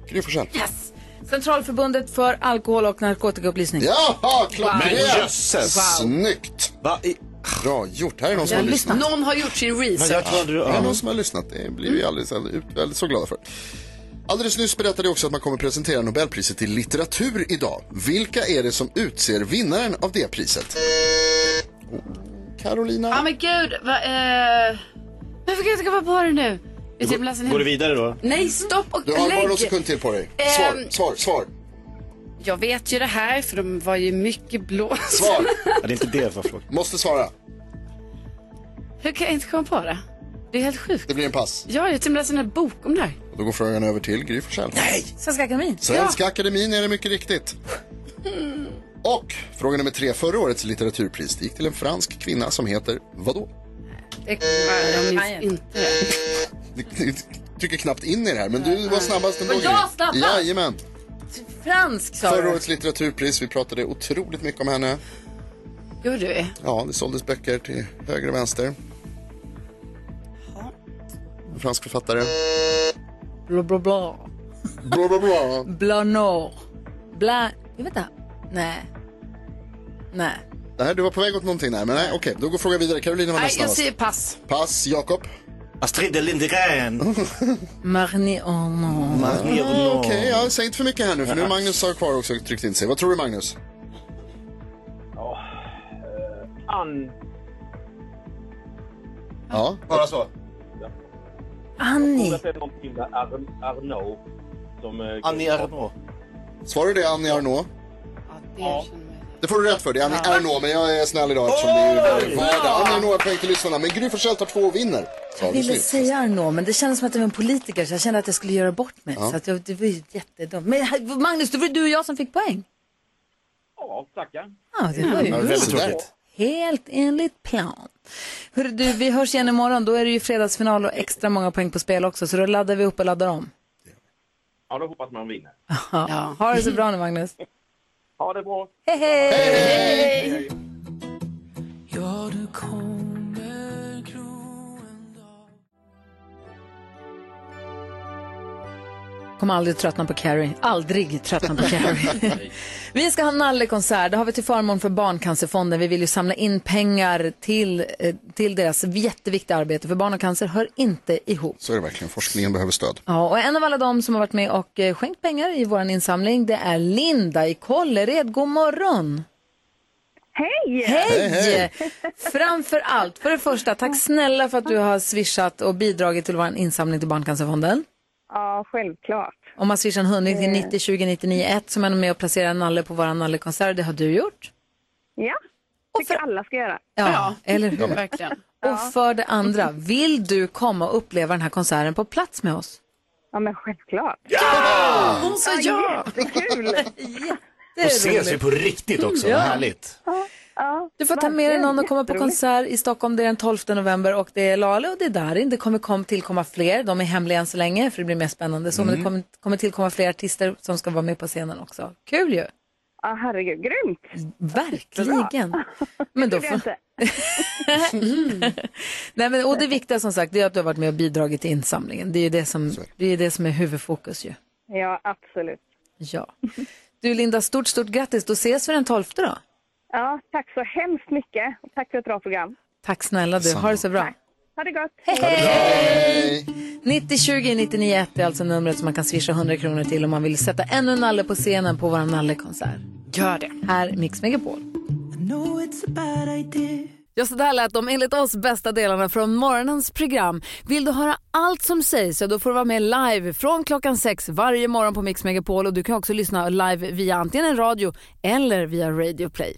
S4: Gry Forssell.
S1: Yes! Centralförbundet för alkohol och narkotikaupplysning.
S4: Jaha, klockrent!
S1: Wow.
S4: Snyggt! Bra gjort. Här är någon som har
S5: Jag
S4: lyssnat.
S5: Någon har gjort sin research.
S4: Det är någon som har lyssnat. Det blir vi alldeles, alldeles så glada för. Alldeles nyss berättade jag också att man kommer presentera Nobelpriset i litteratur idag. Vilka är det som utser vinnaren av det priset? Carolina.
S5: Ja, men gud. Va, eh... Men för gud, jag ska vara på det nu. typ Jag ska läsa en hel-
S2: Går du vidare då?
S5: Nej, stopp och
S4: Du har
S5: lägg.
S4: bara någon sekund till på dig.
S5: Ehm.
S4: Svar, svar, svar.
S5: Jag vet ju det här, för de var ju mycket blå.
S4: Svar.
S2: det är inte det som frågan.
S4: Måste svara.
S5: Hur kan jag inte komma på det? Det är helt sjukt.
S4: Det blir en pass.
S5: Ja, jag har till och med läst en hel bok om det här.
S4: Då går frågan över till Gry Forssell. Nej!
S1: Svenska Akademin.
S4: Svenska Akademin är det mycket riktigt. Och fråga nummer tre. Förra årets litteraturpris det gick till en fransk kvinna som heter vadå?
S1: Det-
S5: Jag minns inte det.
S4: Du trycker knappt in i det här, men du var snabbast ändå.
S1: Var jag
S4: Gry.
S1: snabbast?
S4: Jajamän.
S1: Fransk sa
S4: Förra
S1: du.
S4: årets litteraturpris, vi pratade otroligt mycket om henne.
S5: Gjorde vi?
S4: Ja, det såldes böcker till höger och vänster. En fransk författare.
S1: Bla, bla, bla.
S4: Bla, bla, bla.
S1: Blanor. Bla... Vänta. Nej. Nej.
S4: Det här, du var på väg åt någonting där, men nej, okej. Då går frågan vidare. Carolina har
S5: Nej,
S4: nästa.
S5: jag säger pass.
S4: Pass, Jakob.
S2: Astrid Lindgren.
S1: Marni Arnault.
S2: Mm,
S4: Okej, ja, säg inte för mycket här nu, för nu är Magnus har kvar också och tryckt in sig. Vad tror du, Magnus?
S17: Ann.
S4: Ja.
S2: Bara så.
S17: Jag
S1: Annie.
S17: tror att det är någonting med Ar- Arnault. Som, eh,
S4: Annie Arnault. Svarar du det, Annie Arnault? Det får du rätt för, det är Annie Arnault, men jag är snäll idag eftersom det är vardag. Annie Arnault är poäng till lyssnarna, men Gry Forssell tar två och vinner.
S1: Jag ville säga Arnault, men det kändes som att det var en politiker så jag kände att jag skulle göra bort mig.
S4: Ja.
S1: Så att jag, det var ju jättedumt. Men här- Magnus, det var ju du och jag som fick poäng.
S17: Ja, tackar.
S1: Ja, det
S4: Mm.
S1: var ju
S17: Ja, det är väldigt
S1: gulligt.
S17: tråkigt.
S1: Helt enligt plan. Hörru, du, vi hörs igen imorgon. Då är det ju fredagsfinal och extra många poäng på spel också. Så då laddar vi upp och laddar om.
S17: Ja, då hoppas man vinner.
S1: Ja. Ha det så bra nu, Magnus.
S17: Ha det bra.
S1: Hej, hej!
S17: Hej,
S1: hej.
S20: Ja, du kommer
S1: Kommer aldrig tröttna på Carrie. Aldrig tröttna på Carrie. vi ska ha nallekonsert. Det har vi till förmån för Barncancerfonden. Vi vill ju samla in pengar till, eh, till deras jätteviktiga arbete. För barn och cancer hör inte ihop.
S4: Så är det verkligen, forskningen behöver stöd.
S1: Ja, och en av alla de som har varit med och eh, skänkt pengar i vår insamling, det är Linda i Kållered. God morgon!
S21: Hej!
S1: Hej!
S21: Hej,
S1: Framför allt, för det första, tack snälla för att du har swishat och bidragit till vår insamling till Barncancerfonden.
S21: Ja, självklart.
S1: Om man swishar en hundring till
S21: Eh.
S1: 90 20 99 1 så är man med och placerar en nalle på vår nallekonsert. Det har du gjort.
S21: Ja, tycker alla ska göra.
S1: Ja, eller hur?
S21: verkligen.
S1: Och för det andra, vill du komma och uppleva den här konserten på plats med oss?
S21: Ja, men självklart.
S2: Ja!
S21: Hon sa ja! Jättekul!
S2: Och ses vi på riktigt också,
S1: Ja.
S2: vad härligt.
S1: Du får ta med dig någon och komma på konsert i Stockholm. Det är den 12 november och det är Lale och det är Darin. Det kommer kom tillkomma fler. De är hemliga än så länge för det blir mer spännande. Så men
S21: Mm.
S1: det kommer, kommer tillkomma fler artister som ska vara med på scenen också. Kul ju!
S21: Ja, herregud, grymt!
S1: Verkligen! Men då
S21: Det
S1: får...
S21: trodde jag
S1: Nej, men, och det viktiga som sagt det är att du har varit med och bidragit till insamlingen. Det är ju det som, det är, det som är huvudfokus ju.
S21: Ja, absolut.
S1: Ja. Du Linda, stort, stort grattis. Då ses vi den 12 då.
S21: Ja, tack så hemskt mycket. Och Tack för ett bra program.
S1: Tack snälla du. Ha det så bra.
S21: Ha det gott!
S1: Hej! 90 20 99 1 är alltså numret som man kan swisha 100 kronor till om man vill sätta ännu en nalle på scenen på vår nallekonsert. Gör det. Här, Mix Megapol. Ja, så där lät de enligt oss bästa delarna från morgonens program. Vill du höra allt som sägs så då får du vara med live från klockan sex varje morgon på Mix Megapol och du kan också lyssna live via antingen en radio eller via Radio Play.